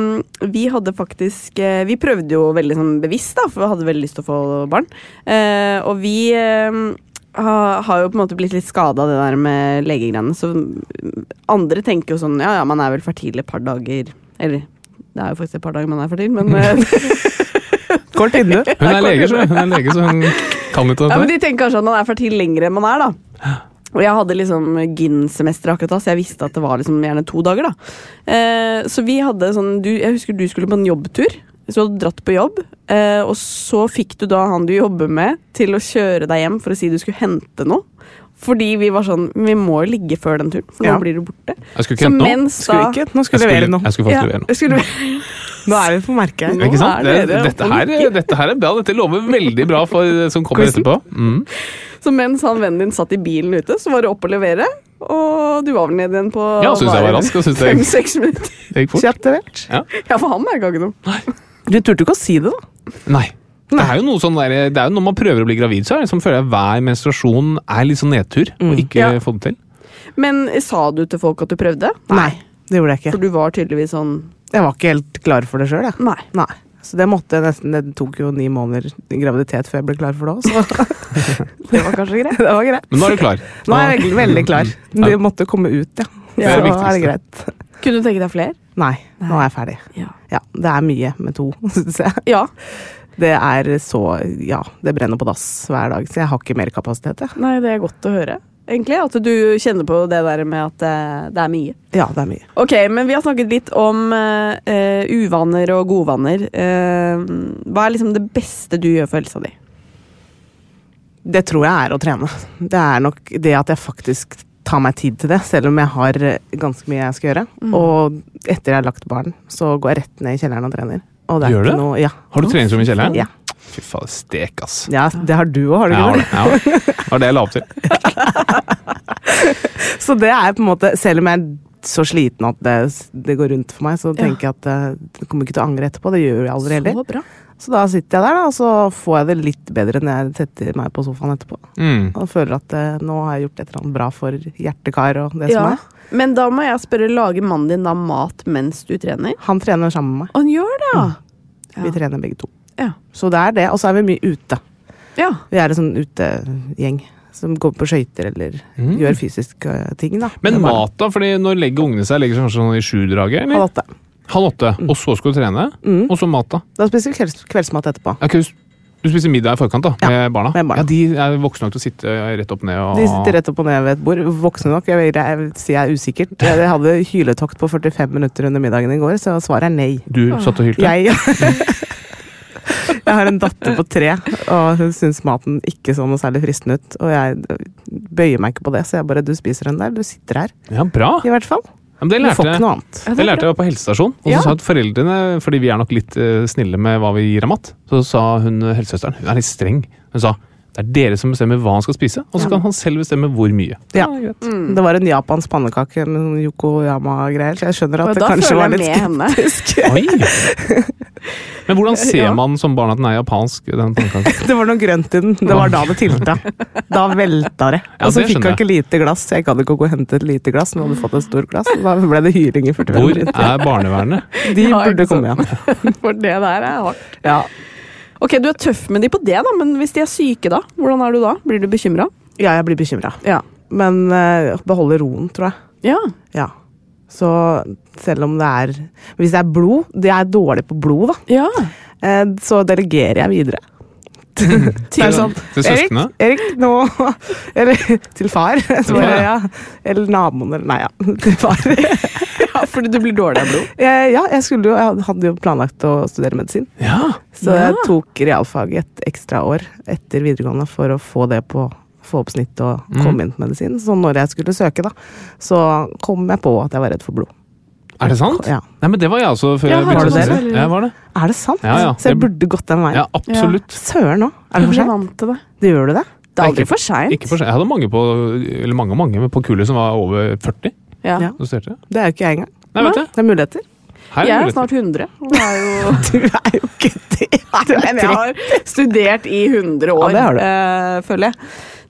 [SPEAKER 1] Vi hadde faktisk eh, Vi prøvde jo veldig sånn bevisst, da, for vi hadde veldig lyst til å få barn. Eh, og vi em, ha, har jo på en måte blitt litt skada av det der med legegreiene. Så mm, andre tenker jo sånn Ja, ja, man er vel fertil et par dager. Eller det er jo faktisk et par dager man er fertil, men eh,
[SPEAKER 8] Kort inne.
[SPEAKER 2] Hun er lege, så hun, er lege, så hun kan litt
[SPEAKER 1] Ja,
[SPEAKER 2] av
[SPEAKER 1] men
[SPEAKER 2] dette.
[SPEAKER 1] De tenker kanskje at man er fertil lenger enn man er, da. Og jeg hadde liksom gyn-semester akkurat da, så jeg visste at det var liksom gjerne to dager. da. Eh, så vi hadde sånn du, Jeg husker du skulle på en jobbtur. Så du hadde dratt på jobb, eh, og så fikk du da han du jobber med, til å kjøre deg hjem for å si du skulle hente noe. Fordi vi var sånn Vi må jo ligge før den turen, for
[SPEAKER 8] Ja.
[SPEAKER 1] nå blir du borte.
[SPEAKER 2] Jeg skulle
[SPEAKER 1] Så
[SPEAKER 2] ikke hente noe.
[SPEAKER 1] mens
[SPEAKER 8] Skulle
[SPEAKER 1] da
[SPEAKER 8] ikke, nå
[SPEAKER 2] Jeg
[SPEAKER 8] skulle jeg levere
[SPEAKER 2] skulle-
[SPEAKER 8] noe.
[SPEAKER 2] Jeg skulle faktisk levere noe.
[SPEAKER 1] ja, skulle du,
[SPEAKER 8] Nå er vi på merket.
[SPEAKER 1] Nå
[SPEAKER 2] Ikke sant?
[SPEAKER 1] er dere
[SPEAKER 2] Det, dette,
[SPEAKER 1] oppe og
[SPEAKER 2] her,
[SPEAKER 1] nikker.
[SPEAKER 2] dette her er bra. Dette lover veldig bra for det som kommer
[SPEAKER 1] Quizen?
[SPEAKER 2] etterpå. Mm.
[SPEAKER 1] Så mens han vennen din satt i bilen ute, så var det opp og levere. Og du var vel nede igjen på
[SPEAKER 2] Ja, synes jeg var rask, og synes jeg-
[SPEAKER 1] fem-seks minutter.
[SPEAKER 2] Det gikk fort.
[SPEAKER 8] Kjapt levert.
[SPEAKER 1] Ja, for han merka ikke noe.
[SPEAKER 8] Du turte ikke å si det, da.
[SPEAKER 2] Nei. Det er jo noe sånn der, det er jo når man prøver å bli gravid, så er det som føler jeg hver menstruasjon er litt sånn nedtur. Og ikke
[SPEAKER 1] Ja.
[SPEAKER 2] få det til.
[SPEAKER 1] Men sa du til folk at du prøvde?
[SPEAKER 8] Nei, det gjorde jeg
[SPEAKER 1] For
[SPEAKER 8] ikke.
[SPEAKER 1] du var tydeligvis sånn
[SPEAKER 8] Jeg var ikke helt klar for det sjøl, jeg.
[SPEAKER 1] Nei.
[SPEAKER 8] Nei. Så det måtte jeg nesten Det tok jo ni måneder i graviditet før jeg ble klar for det òg, så
[SPEAKER 1] Det var kanskje greit.
[SPEAKER 8] det var greit.
[SPEAKER 2] Men nå er du klar.
[SPEAKER 8] Nå er jeg veldig, veldig klar. Det måtte komme ut, ja. Så
[SPEAKER 2] Det er det
[SPEAKER 8] er det
[SPEAKER 2] viktigste.
[SPEAKER 8] greit.
[SPEAKER 1] Kunne du tenke deg flere?
[SPEAKER 8] Nei, nå er jeg ferdig.
[SPEAKER 1] Ja.
[SPEAKER 8] Ja, det er mye med to, syns jeg.
[SPEAKER 1] Ja.
[SPEAKER 8] Det er så Ja, det brenner på dass hver dag, så jeg har ikke mer kapasitet, jeg.
[SPEAKER 1] Nei, det er godt å høre. Egentlig at du kjenner på det der med at eh, det er mye.
[SPEAKER 8] Ja, det er mye.
[SPEAKER 1] Ok, men vi har snakket litt om eh, eh, uvaner og godvaner. Eh, hva er liksom det beste du gjør for helsa di?
[SPEAKER 8] Det tror jeg er å trene. Det er nok det at jeg faktisk tar meg tid til det, selv om jeg har eh, ganske mye jeg skal gjøre. Og etter jeg har lagt barn, så går jeg rett ned i kjelleren og trener. Og det er
[SPEAKER 2] Gjør
[SPEAKER 8] ikke
[SPEAKER 2] du?
[SPEAKER 8] Noe, ja.
[SPEAKER 2] Har du treningsrom i kjelleren?
[SPEAKER 8] Ja.
[SPEAKER 2] Fy faen, stek, ass.
[SPEAKER 8] ja, det har du òg, har du
[SPEAKER 2] Jeg
[SPEAKER 8] ikke
[SPEAKER 2] har
[SPEAKER 8] det?
[SPEAKER 2] det. Jeg har det. Det var det jeg la opp til.
[SPEAKER 8] Så det er på en måte, selv om jeg er så sliten at det, det går rundt for meg, så tenker jeg at eh, det kommer ikke til å angre etterpå. Det gjør jeg aldri heller.
[SPEAKER 1] bra.
[SPEAKER 8] Så da sitter jeg der, da, og så får jeg det litt bedre når jeg setter meg på sofaen etterpå.
[SPEAKER 2] Mm.
[SPEAKER 8] Og føler at eh, nå har jeg gjort et eller annet bra for hjertekar og det som
[SPEAKER 1] Ja.
[SPEAKER 8] er.
[SPEAKER 1] Men da må jeg spørre, lager mannen din da mat mens du trener?
[SPEAKER 8] Han trener sammen med meg.
[SPEAKER 1] Han gjør det, ja!
[SPEAKER 8] Vi trener begge to.
[SPEAKER 1] Ja.
[SPEAKER 8] Så det er det. Og så er vi mye ute.
[SPEAKER 1] ja.
[SPEAKER 8] Vi er en sånn utegjeng som går på skøyter eller gjør fysiske eh, ting. da.
[SPEAKER 2] Mm. Men
[SPEAKER 8] Det er bare-
[SPEAKER 2] mat, da? fordi når legger ungene seg? Legger seg kanskje sånn i sju-draget?
[SPEAKER 8] Halv
[SPEAKER 2] eller?
[SPEAKER 8] åtte.
[SPEAKER 2] Halv åtte. Og så skal du trene? Og så mat, da?
[SPEAKER 8] Da spiser vi kvelds kveldsmat etterpå.
[SPEAKER 2] Ok, du s- du spiser middag i forkant da,
[SPEAKER 8] Ja,
[SPEAKER 2] med, barna.
[SPEAKER 8] med barna.
[SPEAKER 2] Ja, De er voksne nok til å sitte eh, rett opp ned og
[SPEAKER 8] De sitter rett opp og ned ved et bord. Voksne nok. Jeg vil, jeg vil si jeg er usikkert. Jeg hadde hyletokt på 45 minutter under middagen i går, så svaret er nei.
[SPEAKER 2] Du satt og hylte?
[SPEAKER 8] Jeg, jeg har en datter på tre, og hun syns maten ikke så noe særlig fristende ut. Og jeg bøyer meg ikke på det, så jeg bare Du spiser den der, du sitter her.
[SPEAKER 2] Ja, bra!
[SPEAKER 8] I hvert fall.
[SPEAKER 2] Ja, men det
[SPEAKER 8] Du
[SPEAKER 2] lærte
[SPEAKER 8] får ikke
[SPEAKER 2] jeg.
[SPEAKER 8] noe annet.
[SPEAKER 2] Det lærte jeg på helsestasjonen. Og så
[SPEAKER 8] Ja.
[SPEAKER 2] sa at foreldrene, fordi vi er nok litt eh, snille med hva vi gir av mat, så sa hun eh, helsesøsteren, hun er litt streng, hun sa det er dere som bestemmer hva han skal spise, og så kan han selv bestemme hvor mye.
[SPEAKER 8] Ja. Mm.
[SPEAKER 2] det er greit.
[SPEAKER 1] Mm.
[SPEAKER 8] Det var en japansk pannekake med noen Yokoyama-greier, så jeg skjønner
[SPEAKER 1] Og
[SPEAKER 8] at det
[SPEAKER 1] da
[SPEAKER 8] kanskje var
[SPEAKER 1] føler jeg
[SPEAKER 8] litt
[SPEAKER 1] med henne.
[SPEAKER 2] Oi! Men hvordan ser
[SPEAKER 1] Ja.
[SPEAKER 2] man som barn at den er japansk? Den pannekaken?
[SPEAKER 8] Det var noe grønt i den. Det var da det tilta. Da velta det.
[SPEAKER 2] Ja,
[SPEAKER 8] Og så
[SPEAKER 2] det
[SPEAKER 8] fikk
[SPEAKER 2] skjønner
[SPEAKER 8] jeg ikke lite glass. Jeg gadd ikke å gå og hente et lite glass, men hadde fått et stort glass. Da ble det hyring i 45
[SPEAKER 2] Hvor
[SPEAKER 8] minutter.
[SPEAKER 2] er barnevernet?
[SPEAKER 8] De
[SPEAKER 1] Ja, ikke
[SPEAKER 8] burde komme
[SPEAKER 1] sant.
[SPEAKER 8] igjen.
[SPEAKER 1] For det der er hardt.
[SPEAKER 8] Ja.
[SPEAKER 1] Ok, Du er tøff med de på det, da, men hvis de er syke, da? Hvordan er du da? Blir du bekymra?
[SPEAKER 8] ja, jeg blir bekymra.
[SPEAKER 1] Ja.
[SPEAKER 8] Men eh, beholde roen, tror jeg.
[SPEAKER 1] Ja.
[SPEAKER 8] Ja. Så selv om det er Hvis det er blod Det er dårlig på blod, da.
[SPEAKER 1] ja.
[SPEAKER 8] Eh, så delegerer jeg videre. Det er sånn,
[SPEAKER 2] Til
[SPEAKER 8] Erik,
[SPEAKER 2] søsknene?
[SPEAKER 8] Erik, nå Eller til far. Så
[SPEAKER 2] far,
[SPEAKER 8] bare,
[SPEAKER 2] ja.
[SPEAKER 8] ja. Eller naboen, eller Nei, ja. Til far.
[SPEAKER 1] ja, fordi du blir dårlig av blod?
[SPEAKER 8] Eh, Ja, jeg, skulle jo, jeg hadde jo planlagt å studere medisin.
[SPEAKER 2] Ja!
[SPEAKER 8] Så
[SPEAKER 1] Ja.
[SPEAKER 8] jeg tok realfag i et ekstra år etter videregående for å få det på få opp snitt og
[SPEAKER 2] Mm.
[SPEAKER 8] komme inn på medisin. Så når jeg skulle søke, da, så kom jeg på at jeg var redd for blod.
[SPEAKER 2] Er det sant?
[SPEAKER 8] Ja.
[SPEAKER 2] Nei, men det var jeg også før
[SPEAKER 1] Ja, har
[SPEAKER 2] jeg begynte
[SPEAKER 8] du
[SPEAKER 2] å
[SPEAKER 8] det?
[SPEAKER 2] studere. Ja, var det?
[SPEAKER 8] Er det sant?
[SPEAKER 2] Ja, ja.
[SPEAKER 8] Så jeg
[SPEAKER 2] Det-
[SPEAKER 8] burde gått den veien.
[SPEAKER 2] Ja, absolutt.
[SPEAKER 8] Søren òg. Er
[SPEAKER 1] Du
[SPEAKER 8] det for
[SPEAKER 1] blir
[SPEAKER 8] sent?
[SPEAKER 1] vant til det.
[SPEAKER 8] Du gjør du det?
[SPEAKER 1] Det er
[SPEAKER 2] Nei,
[SPEAKER 1] aldri
[SPEAKER 2] ikke-
[SPEAKER 1] for seint.
[SPEAKER 2] Ikke for seg. Jeg hadde mange på, eller mange, mange men på kuler som var over 40.
[SPEAKER 1] Ja.
[SPEAKER 8] Ja.
[SPEAKER 2] som studerte.
[SPEAKER 8] Det er jo ikke jeg engang.
[SPEAKER 2] Nei, vet du.
[SPEAKER 8] Det er muligheter.
[SPEAKER 2] Her
[SPEAKER 1] Jeg
[SPEAKER 2] er
[SPEAKER 1] er
[SPEAKER 2] muligheter.
[SPEAKER 1] snart 100. og det er jo-
[SPEAKER 8] Du er jo ikke det! Du er
[SPEAKER 1] Men jeg
[SPEAKER 8] trygg.
[SPEAKER 1] har studert i 100 år,
[SPEAKER 8] Ja, det har du.
[SPEAKER 1] eh, føler jeg.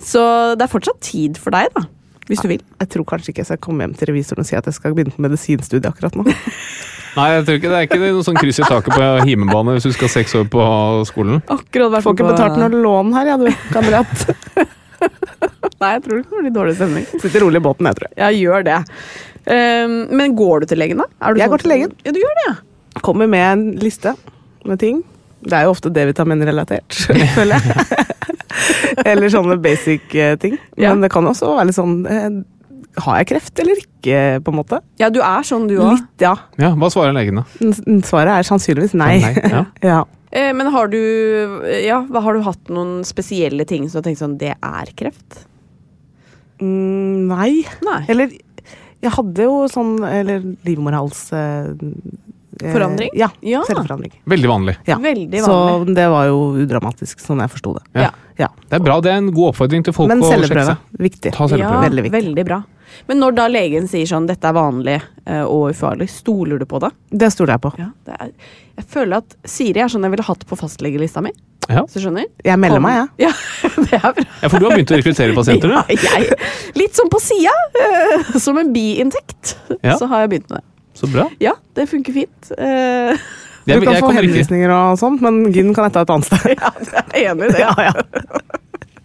[SPEAKER 1] Så det er fortsatt tid for deg, da. Hvis du vil.
[SPEAKER 8] Jeg tror kanskje ikke jeg skal komme hjem til revisoren og si at jeg skal begynne på medisinstudiet akkurat nå.
[SPEAKER 2] Nei, jeg tror ikke, det er ikke noe sånn kryss i taket på himmelbane hvis du skal seks år på skolen.
[SPEAKER 1] Akkurat vært
[SPEAKER 8] Får ikke betalt noe lån her, ja, du, kamerat.
[SPEAKER 1] Nei, jeg tror det kan bli dårlig stemning.
[SPEAKER 8] Sitter rolig i båten, jeg, tror jeg.
[SPEAKER 1] Ja, gjør det. Ehm, men går du til legen, da? Er du sånn
[SPEAKER 8] Jeg går til legen.
[SPEAKER 1] Ja, du gjør det, ja.
[SPEAKER 8] Kommer med en liste med ting. Det er jo ofte D-vitamin-relatert, føler jeg. Eller sånne basic eh, ting.
[SPEAKER 1] Ja.
[SPEAKER 8] Men det kan også være litt sånn eh, Har jeg kreft eller ikke, på en måte?
[SPEAKER 1] Ja, du er sånn, du òg.
[SPEAKER 8] Litt, ja.
[SPEAKER 2] Ja, Hva svarer legene?
[SPEAKER 8] N- n- Svaret er sannsynligvis nei.
[SPEAKER 2] Nei, ja.
[SPEAKER 8] ja.
[SPEAKER 1] Eh, men har du, eh, ja, hva- har du hatt noen spesielle ting som du har tenkt sånn Det er kreft?
[SPEAKER 8] Mm, nei.
[SPEAKER 1] Nei.
[SPEAKER 8] Eller jeg hadde jo sånn Eller livmorhals... Eh, eh,
[SPEAKER 1] Forandring?
[SPEAKER 8] Ja.
[SPEAKER 1] Ja.
[SPEAKER 8] Selvforandring.
[SPEAKER 2] Veldig vanlig.
[SPEAKER 8] Ja.
[SPEAKER 1] Veldig vanlig.
[SPEAKER 8] Så det var jo udramatisk, sånn jeg forsto det.
[SPEAKER 2] Ja.
[SPEAKER 8] Ja.
[SPEAKER 2] Det er bra, det er en god oppfordring til folk
[SPEAKER 8] Men
[SPEAKER 2] å sjekke
[SPEAKER 8] celleprøve.
[SPEAKER 2] seg.
[SPEAKER 8] Viktig.
[SPEAKER 2] Ta celleprøve.
[SPEAKER 1] Ja,
[SPEAKER 8] Veldig
[SPEAKER 1] veldig,
[SPEAKER 8] viktig.
[SPEAKER 1] bra. Men når da legen sier sånn 'dette er vanlig eh, og ufarlig', stoler du på det?
[SPEAKER 8] Det stoler jeg på.
[SPEAKER 1] Ja, det er, jeg føler at Siri er sånn jeg ville hatt på fastlegelista mi.
[SPEAKER 2] Ja.
[SPEAKER 1] Hvis du skjønner?
[SPEAKER 8] Jeg melder meg, jeg.
[SPEAKER 1] Ja. det er bra.
[SPEAKER 2] ja, for du har begynt å rekruttere pasienter,
[SPEAKER 1] Ja,
[SPEAKER 2] du.
[SPEAKER 1] jeg, litt sånn på sida, eh, som en biinntekt,
[SPEAKER 2] Ja.
[SPEAKER 1] så har jeg begynt med det.
[SPEAKER 2] Så bra.
[SPEAKER 1] Ja, det funker fint. Eh,
[SPEAKER 8] Du
[SPEAKER 2] Jeg,
[SPEAKER 8] kan
[SPEAKER 2] jeg
[SPEAKER 8] få
[SPEAKER 2] kommer ikke
[SPEAKER 8] henvisninger og sånt, men gyn kan jeg ta et annet sted.
[SPEAKER 1] ja, jeg er enig i det.
[SPEAKER 8] Ja, ja.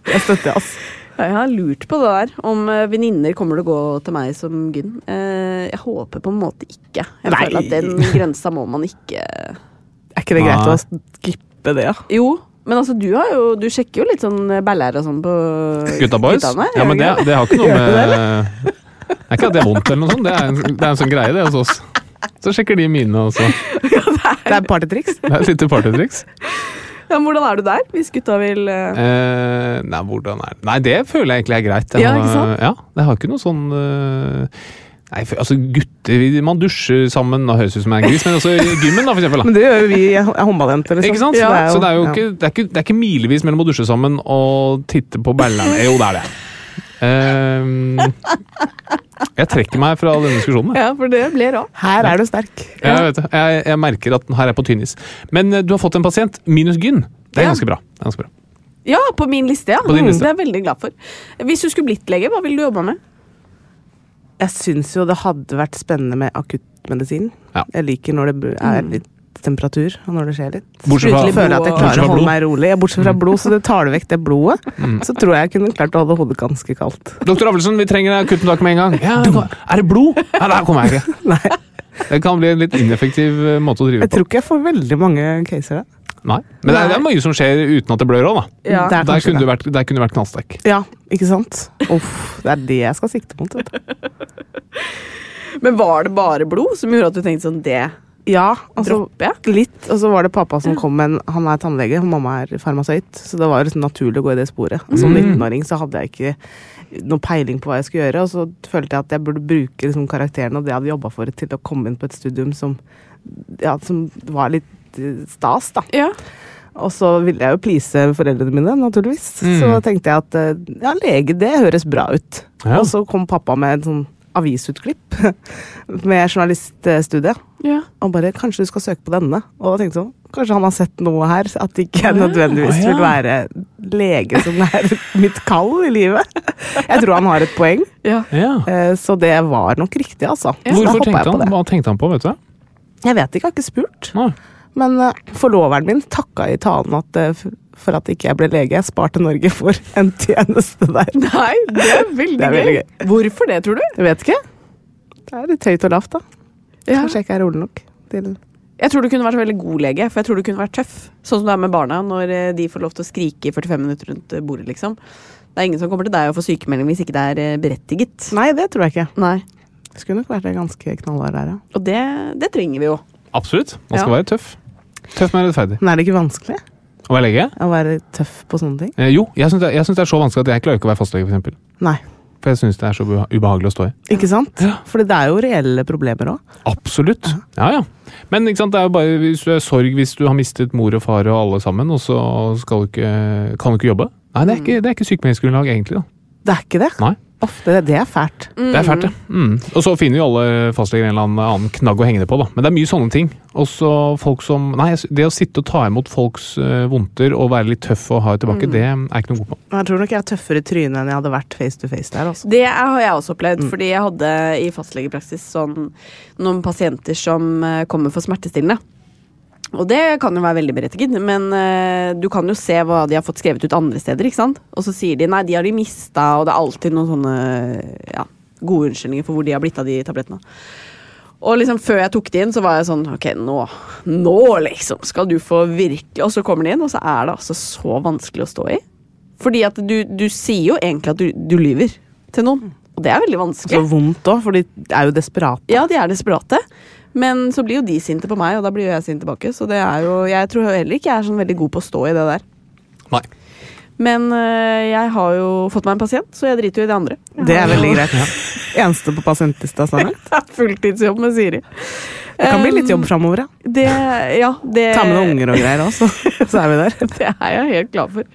[SPEAKER 8] Jeg støtter, ass.
[SPEAKER 1] Jeg har lurt på det der, om eh, venninner kommer til å gå til meg som gyn. Eh, jeg håper på en måte ikke. Jeg
[SPEAKER 8] Nei.
[SPEAKER 1] føler at den grensa må man ikke
[SPEAKER 8] Er ikke det greit
[SPEAKER 2] Nei.
[SPEAKER 8] å skippe det, ja?
[SPEAKER 1] Jo, men altså, du, har jo, du sjekker jo litt sånn eh, baller og sånn på
[SPEAKER 2] Gutta boys?
[SPEAKER 1] guttene,
[SPEAKER 2] Ja,
[SPEAKER 1] gjør
[SPEAKER 2] men
[SPEAKER 1] du
[SPEAKER 2] det,
[SPEAKER 1] ikke det?
[SPEAKER 2] det har ikke noe med Det er ikke at det er vondt eller noe sånt, det er en, det er en sånn greie, det hos oss. Så sjekker de mine også.
[SPEAKER 8] Det er partytriks.
[SPEAKER 2] Det er et lite partytriks.
[SPEAKER 1] Ja, men hvordan er du der, hvis gutta vil eh,
[SPEAKER 2] Eh, nei, hvordan er det Nei, det føler jeg egentlig er greit. Jeg
[SPEAKER 1] Ja,
[SPEAKER 2] har-
[SPEAKER 1] ikke sant?
[SPEAKER 2] Ja, jeg har ikke noe sånn eh, Nei, for, altså gutter vi- Man dusjer sammen og høres ut som en gris, men også i gymmen, da, for eksempel. Da.
[SPEAKER 8] Men det gjør jo vi eh, håndballjenter, liksom.
[SPEAKER 2] Ikke
[SPEAKER 1] sånn-
[SPEAKER 2] sant? så det er jo ikke, det er ikke, det er ikke milevis mellom å dusje sammen og titte på ballerne. Jo, det er det. Eh, jeg trekker meg fra denne diskusjonen. jeg.
[SPEAKER 1] Ja, for det ble rart.
[SPEAKER 8] Her er du sterk.
[SPEAKER 2] Jeg, vet det. jeg, jeg merker at den her er på tynn is. Men eh, du har fått en pasient. Minus gyn. Det er
[SPEAKER 1] Ja.
[SPEAKER 2] ganske bra. Det er ganske bra.
[SPEAKER 1] Ja, på min liste, ja.
[SPEAKER 2] På din
[SPEAKER 1] Mm,
[SPEAKER 2] liste.
[SPEAKER 1] Det er jeg veldig glad for. Hvis du skulle blitt lege, hva ville du jobba med?
[SPEAKER 8] Jeg syns jo det hadde vært spennende med akuttmedisin.
[SPEAKER 2] Ja.
[SPEAKER 8] Jeg liker når det bu- er litt temperatur, og når det skjer litt.
[SPEAKER 2] Bortsett fra-
[SPEAKER 8] Plutselig føler jeg at jeg
[SPEAKER 1] Bortsett
[SPEAKER 8] klarer
[SPEAKER 2] fra
[SPEAKER 8] å
[SPEAKER 2] blod.
[SPEAKER 8] holde meg rolig. Ja, Bortsett fra blod, så det tar det vekk det blodet. Så tror jeg jeg kunne klart å holde hodet ganske kaldt.
[SPEAKER 2] Doktor Avelsen, vi trenger akuttmottaket med en gang. Ja, nå- er det blod? Nei, der kommer jeg ikke.
[SPEAKER 8] Nei,
[SPEAKER 2] Det kan bli en litt ineffektiv eh, måte å drive
[SPEAKER 8] jeg
[SPEAKER 2] på.
[SPEAKER 8] tror ikke jeg får veldig mange caser der.
[SPEAKER 2] Nei. Men det er, det er mye som skjer uten at det blør òg, da.
[SPEAKER 1] Ja.
[SPEAKER 8] Det er
[SPEAKER 2] Der
[SPEAKER 8] kanskje
[SPEAKER 2] kunne du
[SPEAKER 8] det.
[SPEAKER 2] vært, der kunne du vært knallsterk.
[SPEAKER 8] Ja, ikke sant? Uff, det er det jeg skal sikte mot. Vet du.
[SPEAKER 1] Men var det bare blod som gjorde at du tenkte sånn Det
[SPEAKER 8] Ja, altså,
[SPEAKER 1] Droppe?
[SPEAKER 8] litt. Og så var det pappa som kom med en Han er tannlege, og mamma er farmasøyt. Så det var jo sånn naturlig å gå i det sporet. Som 19-åring så hadde jeg ikke noe peiling på hva jeg skulle gjøre, og så følte jeg at jeg burde bruke liksom, karakteren og det jeg hadde jobba for, til å komme inn på et studium som, ja, som var litt eh, stas, da.
[SPEAKER 1] Ja.
[SPEAKER 8] Og så ville jeg jo please foreldrene mine, naturligvis. Så tenkte jeg at eh, ja, lege, det høres bra ut.
[SPEAKER 2] Ja.
[SPEAKER 8] Og så kom pappa med en sånn avisutklipp med journaliststudiet.
[SPEAKER 1] Ja.
[SPEAKER 8] Og bare 'kanskje du skal søke på denne'. Og tenkte sånn, kanskje han har sett noe her. At det ikke nødvendigvis vil være lege som er mitt kall i livet. Jeg tror han har et poeng,
[SPEAKER 2] Ja.
[SPEAKER 8] eh, så det var nok riktig, altså. Så da
[SPEAKER 2] Hvorfor
[SPEAKER 8] hoppet jeg
[SPEAKER 2] tenkte
[SPEAKER 8] på
[SPEAKER 2] han?
[SPEAKER 8] det.
[SPEAKER 2] Hva tenkte han på, vet du?
[SPEAKER 8] Jeg vet ikke, jeg har ikke spurt.
[SPEAKER 2] Nei.
[SPEAKER 8] Men eh, forloveren min takka i talen at, eh, f- for at ikke jeg ble lege. Jeg sparte Norge for en tjeneste der.
[SPEAKER 1] Nei, det er veldig,
[SPEAKER 8] Det er veldig
[SPEAKER 1] gøy. Hvorfor det, tror du?
[SPEAKER 8] Jeg vet ikke. Det er litt høyt og lavt, da.
[SPEAKER 1] Ja.
[SPEAKER 8] Kanskje jeg ikke er rolig nok til
[SPEAKER 1] Jeg tror du kunne vært en veldig god lege, for jeg tror du kunne vært tøff. Sånn som det er med barna når eh, de får lov til å skrike i 45 minutter rundt eh, bordet, liksom. Det er ingen som kommer til deg og får sykemelding hvis ikke det er eh, berettiget.
[SPEAKER 8] Nei, det tror jeg ikke.
[SPEAKER 1] Nei.
[SPEAKER 8] Skulle nok vært ganske knallhard der, ja.
[SPEAKER 1] Og det, det trenger vi jo.
[SPEAKER 2] Absolutt. Man skal
[SPEAKER 1] Ja.
[SPEAKER 2] være tøff. Tøff, men rettferdig.
[SPEAKER 8] Men er det ikke vanskelig
[SPEAKER 2] Å være lege?
[SPEAKER 8] å være tøff på sånne ting?
[SPEAKER 2] Eh, jo, jeg syns det, jeg synes det er så vanskelig at jeg klarer ikke å være fastlege, for eksempel.
[SPEAKER 8] Nei.
[SPEAKER 2] For jeg syns det er så ubeha- ubehagelig å stå i.
[SPEAKER 8] Ikke sant?
[SPEAKER 2] Ja.
[SPEAKER 8] Fordi det er jo reelle problemer òg.
[SPEAKER 2] Absolutt. Ja, ja. Men ikke sant, det er jo bare hvis du er sorg hvis du har mistet mor og far og alle sammen, og så skal du ikke, kan du ikke jobbe. Nei, det er
[SPEAKER 8] Mm.
[SPEAKER 2] ikke, det er ikke sykemeldingsgrunnlag, egentlig. da.
[SPEAKER 8] Det er ikke det.
[SPEAKER 2] Nei.
[SPEAKER 8] Ofte, det er fælt.
[SPEAKER 2] Det er fælt, det. Mm. Og så finner jo alle fastleger en eller annen- annen knagg å henge det på, da. Men det er mye sånne ting. Og så folk som Nei, det å sitte og ta imot folks eh, vondter og være litt tøff og hard
[SPEAKER 8] Mm.
[SPEAKER 2] tilbake, det er jeg ikke noe god på.
[SPEAKER 8] Jeg tror nok jeg er tøffere i trynet enn jeg hadde vært face to face der. altså.
[SPEAKER 1] Det er- har jeg også opplevd, fordi jeg hadde i fastlegepraksis sånn, noen pasienter som eh, kommer for smertestillende. Og det kan jo være veldig berettiget, men eh, du kan jo se hva de har fått skrevet ut andre steder. ikke sant? Og så sier de nei, de har de mista, og det er alltid noen sånne ja, gode unnskyldninger for hvor de har blitt av de tablettene. Og liksom før jeg tok det inn, så var jeg sånn Ok, nå, nå liksom skal du få virkelig Og så kommer de inn, og så er det altså så vanskelig å stå i. Fordi at du, du sier jo egentlig at du, du lyver til noen. Og det er veldig
[SPEAKER 8] Og så
[SPEAKER 1] vanskelig.
[SPEAKER 8] vondt òg, for de er jo desperate.
[SPEAKER 1] Ja, de er desperate. Men så blir jo de sinte på meg, og da blir jo jeg sint tilbake. Så det er jo, jeg tror heller ikke jeg er sånn veldig god på å stå i det der.
[SPEAKER 2] Nei.
[SPEAKER 1] Men øh, jeg har jo fått meg en pasient, så jeg driter jo i det andre.
[SPEAKER 8] Det er veldig greit. Eneste på pasientlista. Sånn.
[SPEAKER 1] Det er fulltidsjobb med Siri. Eh,
[SPEAKER 8] Det kan bli litt jobb framover. Ja.
[SPEAKER 1] Det, ja, det,
[SPEAKER 8] Ta med noen unger og greier også,
[SPEAKER 2] Eh.
[SPEAKER 8] så er vi der.
[SPEAKER 1] Det er jeg helt klar for.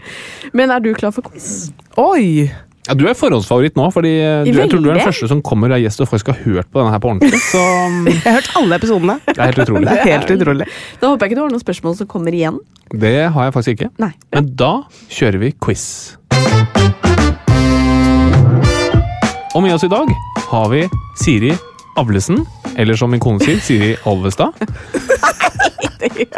[SPEAKER 1] Men er du klar for quiz?
[SPEAKER 8] Oi!
[SPEAKER 2] Ja, du er forhåndsfavoritt nå, fordi eh, du, jeg tror du er den
[SPEAKER 1] Veldig.
[SPEAKER 2] første som kommer og er gjest og faktisk har hørt på denne her på ordentlig. Så mm,
[SPEAKER 8] Jeg har hørt alle episodene.
[SPEAKER 2] det er helt
[SPEAKER 8] Det
[SPEAKER 2] utrolig.
[SPEAKER 8] er helt utrolig.
[SPEAKER 1] Da håper jeg ikke du har noen spørsmål som kommer igjen.
[SPEAKER 2] Det har jeg faktisk ikke.
[SPEAKER 1] Nei.
[SPEAKER 2] Men da kjører vi quiz. Og med oss i dag har vi Siri Avlesen, eller som min kone sier, Siri Alvestad.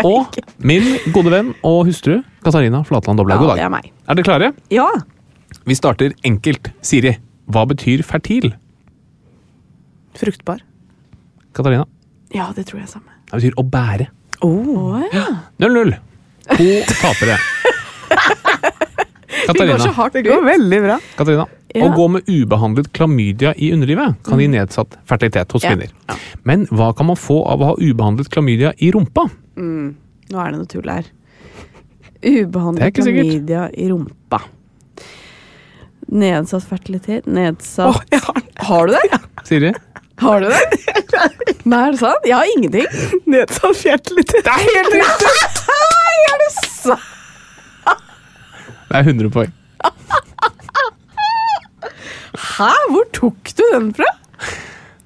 [SPEAKER 2] Og min gode venn og hustru Katarina Flatland Doblaug.
[SPEAKER 1] Ja,
[SPEAKER 2] God
[SPEAKER 1] det er
[SPEAKER 2] dag.
[SPEAKER 1] meg.
[SPEAKER 2] Er dere klare?
[SPEAKER 1] Ja.
[SPEAKER 2] Vi starter enkelt. Siri, hva betyr fertil?
[SPEAKER 8] Fruktbar.
[SPEAKER 2] Katarina,
[SPEAKER 1] ja, det tror jeg samme.
[SPEAKER 2] det betyr å bære.
[SPEAKER 8] Oh.
[SPEAKER 1] Å, ja.
[SPEAKER 2] 0-0. To tapere.
[SPEAKER 1] Det går
[SPEAKER 2] Katarina.
[SPEAKER 1] så hardt
[SPEAKER 8] Det
[SPEAKER 1] ut.
[SPEAKER 8] går veldig bra.
[SPEAKER 2] Katarina,
[SPEAKER 1] Ja. Mm.
[SPEAKER 2] å gå med ubehandlet klamydia i underlivet kan gi nedsatt fertilitet hos
[SPEAKER 1] Ja.
[SPEAKER 2] kvinner. Men hva kan man få av å ha ubehandlet klamydia i rumpa?
[SPEAKER 1] Nå er det noe tull her.
[SPEAKER 2] Det er
[SPEAKER 1] Ubehandlet
[SPEAKER 2] ikke sikkert.
[SPEAKER 1] klamydia i rumpa. Nedsatt fertilitet Nedsatt
[SPEAKER 8] Åh, jeg har
[SPEAKER 1] Har du det?
[SPEAKER 2] Siri?
[SPEAKER 1] Har du det? Nei, er det sant? Jeg har ingenting.
[SPEAKER 8] nedsatt fertilitet. Det er helt riktig!
[SPEAKER 1] Nei, er det sant?
[SPEAKER 2] Det er 100 poeng.
[SPEAKER 1] Hæ? Hvor tok du den fra?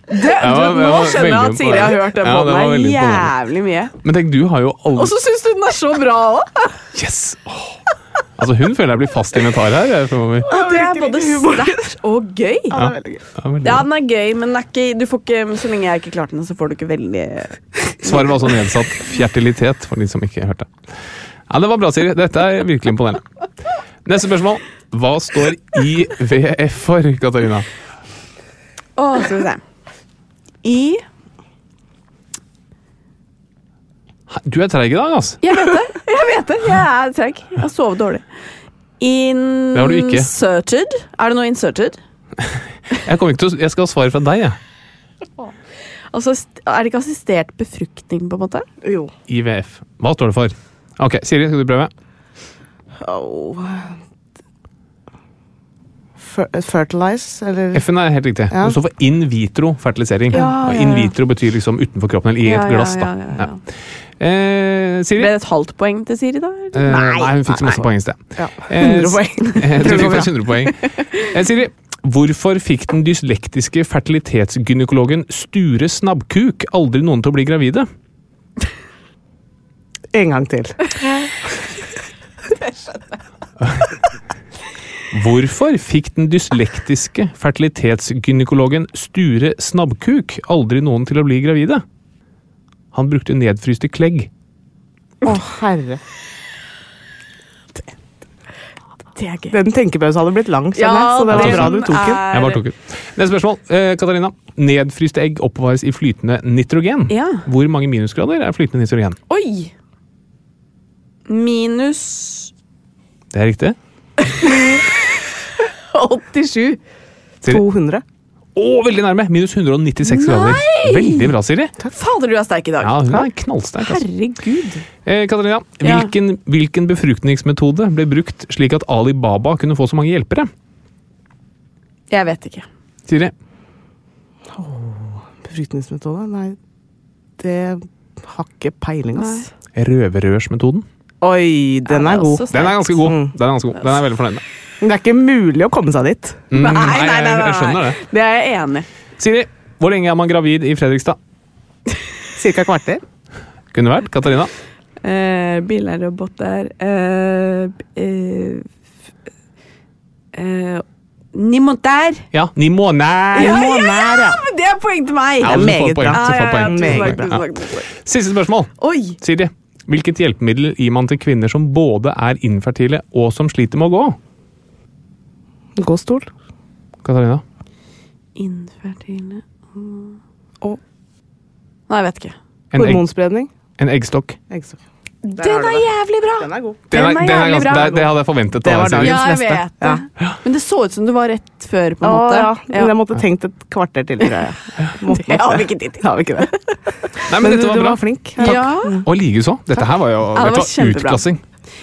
[SPEAKER 1] Det,
[SPEAKER 2] Jeg var-
[SPEAKER 1] du, nå
[SPEAKER 2] jeg var
[SPEAKER 1] skjønner jeg
[SPEAKER 2] veldig
[SPEAKER 1] at Siri har
[SPEAKER 2] imponert.
[SPEAKER 1] hørt den
[SPEAKER 2] Ja,
[SPEAKER 1] på
[SPEAKER 2] det var
[SPEAKER 1] meg
[SPEAKER 2] veldig imponerende.
[SPEAKER 1] jævlig mye.
[SPEAKER 2] Men tenk, du har jo alle
[SPEAKER 1] Og så syns du den er så bra òg!
[SPEAKER 2] Yes! Åh. Altså, hun føler jeg blir fast inventar her. jeg, fremover.
[SPEAKER 1] Det er både sterkt og gøy.
[SPEAKER 8] Ja, det er veldig gøy.
[SPEAKER 2] Ja, veldig
[SPEAKER 1] Ja,
[SPEAKER 2] bra.
[SPEAKER 1] den er gøy, men den er ikke, du får ikke, så lenge jeg ikke klarte den, så får du ikke veldig
[SPEAKER 2] Svaret var altså nedsatt fjertilitet, for de som ikke hørte. Ja, Det var bra, Siri. Dette er virkelig imponerende. Neste spørsmål. Hva står IVF for, Katarina?
[SPEAKER 1] Å, skal vi se. I
[SPEAKER 2] Du er treig i dag, altså.
[SPEAKER 1] Jeg vet det! Jeg vet det, jeg er treg. Jeg har sovet dårlig.
[SPEAKER 2] Det har du ikke.
[SPEAKER 1] Inserted. Er det noe inserted?
[SPEAKER 2] Jeg, kommer ikke til å, jeg skal ha svar fra deg, jeg.
[SPEAKER 1] Altså, st- er det ikke assistert befruktning, på en måte?
[SPEAKER 8] Jo.
[SPEAKER 2] IVF. Hva står det for? Ok, Siri, skal du prøve?
[SPEAKER 8] Oh. Fer eh, fertilize, eller
[SPEAKER 2] F-en er helt riktig.
[SPEAKER 8] Ja.
[SPEAKER 2] Det står for in vitro fertilisering.
[SPEAKER 1] Ja,
[SPEAKER 2] og
[SPEAKER 1] ja,
[SPEAKER 2] in
[SPEAKER 1] ja.
[SPEAKER 2] vitro betyr liksom utenfor kroppen, eller i et glass. da.
[SPEAKER 1] Ja, ja, ja, ja.
[SPEAKER 2] Ja. Eh, Siri?
[SPEAKER 1] Ble det et halvt poeng til Siri, da? eller?
[SPEAKER 2] Eh, nei, hun fikk så masse poeng i sted.
[SPEAKER 8] ja.
[SPEAKER 2] Eh,
[SPEAKER 8] 100 poeng.
[SPEAKER 2] Eh, Du
[SPEAKER 8] Tror
[SPEAKER 2] fikk
[SPEAKER 8] det går
[SPEAKER 2] faktisk 100 poeng. Eh, Siri, hvorfor fikk den dyslektiske fertilitetsgynekologen Sture Snabbkuk aldri noen til å bli gravide?
[SPEAKER 8] En gang til.
[SPEAKER 2] Hvorfor fikk den dyslektiske fertilitetsgynekologen Sture Snabbkuk aldri noen til å bli gravide? Han brukte nedfryste klegg.
[SPEAKER 8] Å, herre.
[SPEAKER 1] Det er gøy.
[SPEAKER 8] Den tenkepausen hadde blitt lang, skjønner jeg, så det var
[SPEAKER 2] den
[SPEAKER 8] bra du tok den.
[SPEAKER 2] Jeg bare tok ut. Neste spørsmål. Eh, Katarina. Nedfryste egg oppbevares i flytende nitrogen.
[SPEAKER 1] Ja.
[SPEAKER 2] Hvor mange minusgrader er flytende nitrogen?
[SPEAKER 1] Oi! Minus
[SPEAKER 2] Det er riktig.
[SPEAKER 1] 87.
[SPEAKER 2] Siri.
[SPEAKER 8] 200.
[SPEAKER 2] Å, veldig nærme! Minus 196 grader. Veldig bra, Siri.
[SPEAKER 1] Fader, du er sterk i dag.
[SPEAKER 2] Ja, hun er knallsterk. Altså.
[SPEAKER 1] Herregud.
[SPEAKER 2] Eh, Katarina,
[SPEAKER 1] Ja.
[SPEAKER 2] hvilken, hvilken befruktningsmetode ble brukt slik at Ali Baba kunne få så mange hjelpere?
[SPEAKER 1] Jeg vet ikke.
[SPEAKER 2] Siri?
[SPEAKER 8] Befruktningsmetode? Nei, det har ikke peiling, ass.
[SPEAKER 2] Røverrørsmetoden.
[SPEAKER 8] Oi, den
[SPEAKER 1] Ja, det er
[SPEAKER 8] er god.
[SPEAKER 1] også
[SPEAKER 2] Den er ganske god.
[SPEAKER 8] Mm.
[SPEAKER 2] Den er ganske god. Den er jeg veldig fornøyd med.
[SPEAKER 8] Men det er ikke mulig å komme seg dit.
[SPEAKER 2] Mm,
[SPEAKER 1] Nei, nei, nei,
[SPEAKER 2] jeg- Jeg
[SPEAKER 1] nei,
[SPEAKER 2] skjønner
[SPEAKER 1] nei.
[SPEAKER 2] det.
[SPEAKER 1] Det er jeg enig i.
[SPEAKER 2] Siri, hvor lenge er man gravid i Fredrikstad?
[SPEAKER 8] Cirka kvarter.
[SPEAKER 2] Kunne vært. Katarina?
[SPEAKER 1] Eh, biler og båter eh, eh, f- eh, Ni måneder.
[SPEAKER 2] Ja, ni måneder!
[SPEAKER 1] Ja, ja, men det er poeng til meg!
[SPEAKER 2] Ja,
[SPEAKER 8] Det er
[SPEAKER 2] du får
[SPEAKER 8] meget
[SPEAKER 2] poeng,
[SPEAKER 8] bra.
[SPEAKER 2] du får
[SPEAKER 1] Ja, ja, ja,
[SPEAKER 2] poeng.
[SPEAKER 1] tusen
[SPEAKER 8] Meget
[SPEAKER 1] takk,
[SPEAKER 2] bra.
[SPEAKER 1] tusen takk, tusen takk.
[SPEAKER 2] Siste spørsmål.
[SPEAKER 1] Oi!
[SPEAKER 2] Siri, hvilket hjelpemiddel gir man til kvinner som både er infertile og som sliter med å gå?
[SPEAKER 8] Gåstol.
[SPEAKER 2] Katarina?
[SPEAKER 1] Infertile og Nei, jeg vet ikke.
[SPEAKER 2] En, egg,
[SPEAKER 8] Hormonspredning.
[SPEAKER 2] en eggstokk.
[SPEAKER 8] Eggstokk.
[SPEAKER 1] Den er jævlig bra!
[SPEAKER 8] Den er god.
[SPEAKER 2] Den
[SPEAKER 1] Den er
[SPEAKER 2] er- den er
[SPEAKER 1] jævlig
[SPEAKER 2] ganske-
[SPEAKER 1] bra.
[SPEAKER 2] Det, det hadde jeg forventet.
[SPEAKER 8] Det
[SPEAKER 2] av
[SPEAKER 8] var
[SPEAKER 2] deg, Siri.
[SPEAKER 8] dagens
[SPEAKER 1] Ja, jeg
[SPEAKER 8] neste.
[SPEAKER 1] vet det. Men det så ut som det var rett før, på en
[SPEAKER 8] Å,
[SPEAKER 1] måte.
[SPEAKER 8] ja.
[SPEAKER 1] Ja.
[SPEAKER 8] Men jeg måtte tenkt et kvarter til, tror jeg. Måtte nok
[SPEAKER 1] Det har vi
[SPEAKER 8] det.
[SPEAKER 1] ikke tid til.
[SPEAKER 8] Det har vi ikke det.
[SPEAKER 2] Nei, men
[SPEAKER 8] Men du,
[SPEAKER 2] dette var
[SPEAKER 8] du
[SPEAKER 2] bra.
[SPEAKER 8] var flink.
[SPEAKER 1] Ja.
[SPEAKER 2] Og likeså. Dette her var jo
[SPEAKER 1] Ja, det
[SPEAKER 2] dette
[SPEAKER 1] var
[SPEAKER 2] var
[SPEAKER 1] kjempebra.
[SPEAKER 2] utklassing.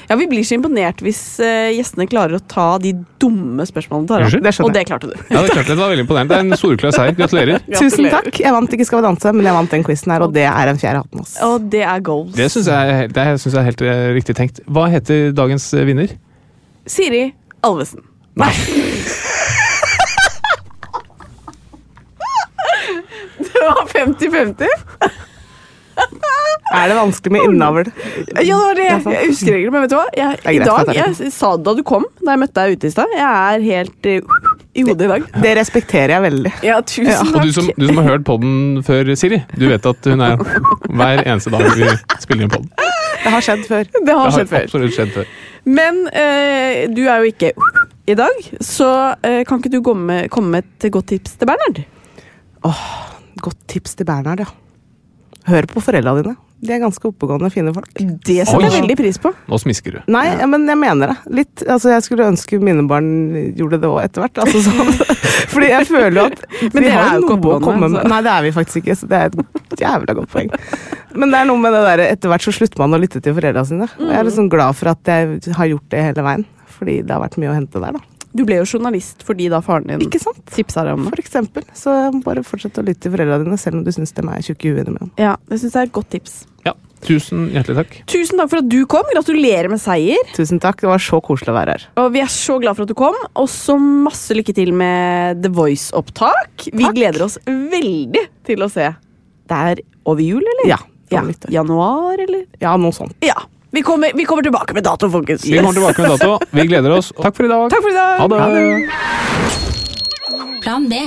[SPEAKER 1] Ja, Vi blir så imponert hvis eh, gjestene klarer å ta de dumme spørsmålene. Tara.
[SPEAKER 2] Unnskyld?
[SPEAKER 8] Det skjønner
[SPEAKER 1] Og det klarte du.
[SPEAKER 2] Ja, det, er klart, det var veldig imponerende. Det er en storklar seier. Gratulerer.
[SPEAKER 8] Tusen takk. Jeg vant ikke Skal vi danse, men jeg vant den quizen her, og det er en fjerde hatten hos.
[SPEAKER 1] Og det er goals.
[SPEAKER 2] Det syns jeg, det synes jeg er helt eh, riktig tenkt. Hva heter dagens eh, vinner?
[SPEAKER 1] Siri Alvesen.
[SPEAKER 2] Nei.
[SPEAKER 1] Det var 50-50.
[SPEAKER 8] Er det vanskelig med innavl?
[SPEAKER 1] Ja, det var det.
[SPEAKER 8] sant.
[SPEAKER 1] Jeg husker ikke, men vet du hva? Jeg,
[SPEAKER 8] er greit,
[SPEAKER 1] I dag,
[SPEAKER 8] Katarina.
[SPEAKER 1] jeg sa det da du kom, da jeg møtte deg ute i stad. Jeg er helt eh, i hodet i dag.
[SPEAKER 8] Det respekterer jeg veldig.
[SPEAKER 1] Ja, tusen
[SPEAKER 2] Og du som, du som har hørt podden før, Siri, du vet at hun er hver eneste dag vi spiller inn podden. Det
[SPEAKER 8] Det har skjedd før.
[SPEAKER 1] Det har
[SPEAKER 2] har
[SPEAKER 1] skjedd før.
[SPEAKER 2] absolutt skjedd før.
[SPEAKER 1] Men eh, du er jo ikke i dag, så eh, kan ikke du komme med, komme med et godt tips til Bernhard?
[SPEAKER 8] Godt tips til Bernhard, ja. Hør på foreldra dine. De er ganske oppegående, fine folk.
[SPEAKER 1] Det setter jeg
[SPEAKER 2] Oi.
[SPEAKER 1] veldig pris på.
[SPEAKER 2] Nå smisker du.
[SPEAKER 8] Nei, ja. men jeg mener det. Litt, altså Jeg skulle ønske mine barn gjorde det òg, etter hvert. Altså, sånn. Fordi jeg føler jo at
[SPEAKER 1] Men
[SPEAKER 8] vi
[SPEAKER 1] dere
[SPEAKER 8] har
[SPEAKER 1] er jo ikke
[SPEAKER 8] noe å
[SPEAKER 1] oppegående,
[SPEAKER 8] komme
[SPEAKER 1] så-
[SPEAKER 8] med. Nei, det er vi faktisk ikke. Så det er et jævla godt poeng. Men det er noe med det der, etter hvert så slutter man å lytte til foreldra sine. Og jeg er liksom glad for at jeg har gjort det hele veien. Fordi det har vært mye å hente der, da.
[SPEAKER 1] Du ble jo journalist fordi da faren din
[SPEAKER 8] Ikke sant?
[SPEAKER 1] tipsa deg om det.
[SPEAKER 8] For eksempel. Så bare fortsett å lytte til foreldra dine, selv om du syns dem er tjukke i huet innimellom.
[SPEAKER 1] Ja, det syns jeg er et godt tips.
[SPEAKER 2] Ja, tusen hjertelig takk.
[SPEAKER 1] Tusen takk for at du kom. Gratulerer med seier.
[SPEAKER 8] Tusen takk, det var så koselig å være her.
[SPEAKER 1] Og vi er så glad for at du kom. Og så masse lykke til med The Voice-opptak. Vi
[SPEAKER 8] Takk.
[SPEAKER 1] gleder oss veldig til å se. Det er over jul, eller?
[SPEAKER 8] Ja,
[SPEAKER 1] ja.
[SPEAKER 8] over nyttår.
[SPEAKER 1] Januar, eller?
[SPEAKER 8] Ja, sånn. noe sånt.
[SPEAKER 1] Ja. Vi kommer, vi kommer tilbake med dato, folkens.
[SPEAKER 2] Vi kommer tilbake med dato. Vi gleder oss. Takk for i dag.
[SPEAKER 1] Takk for i dag.
[SPEAKER 2] Ha det.
[SPEAKER 9] Plan B.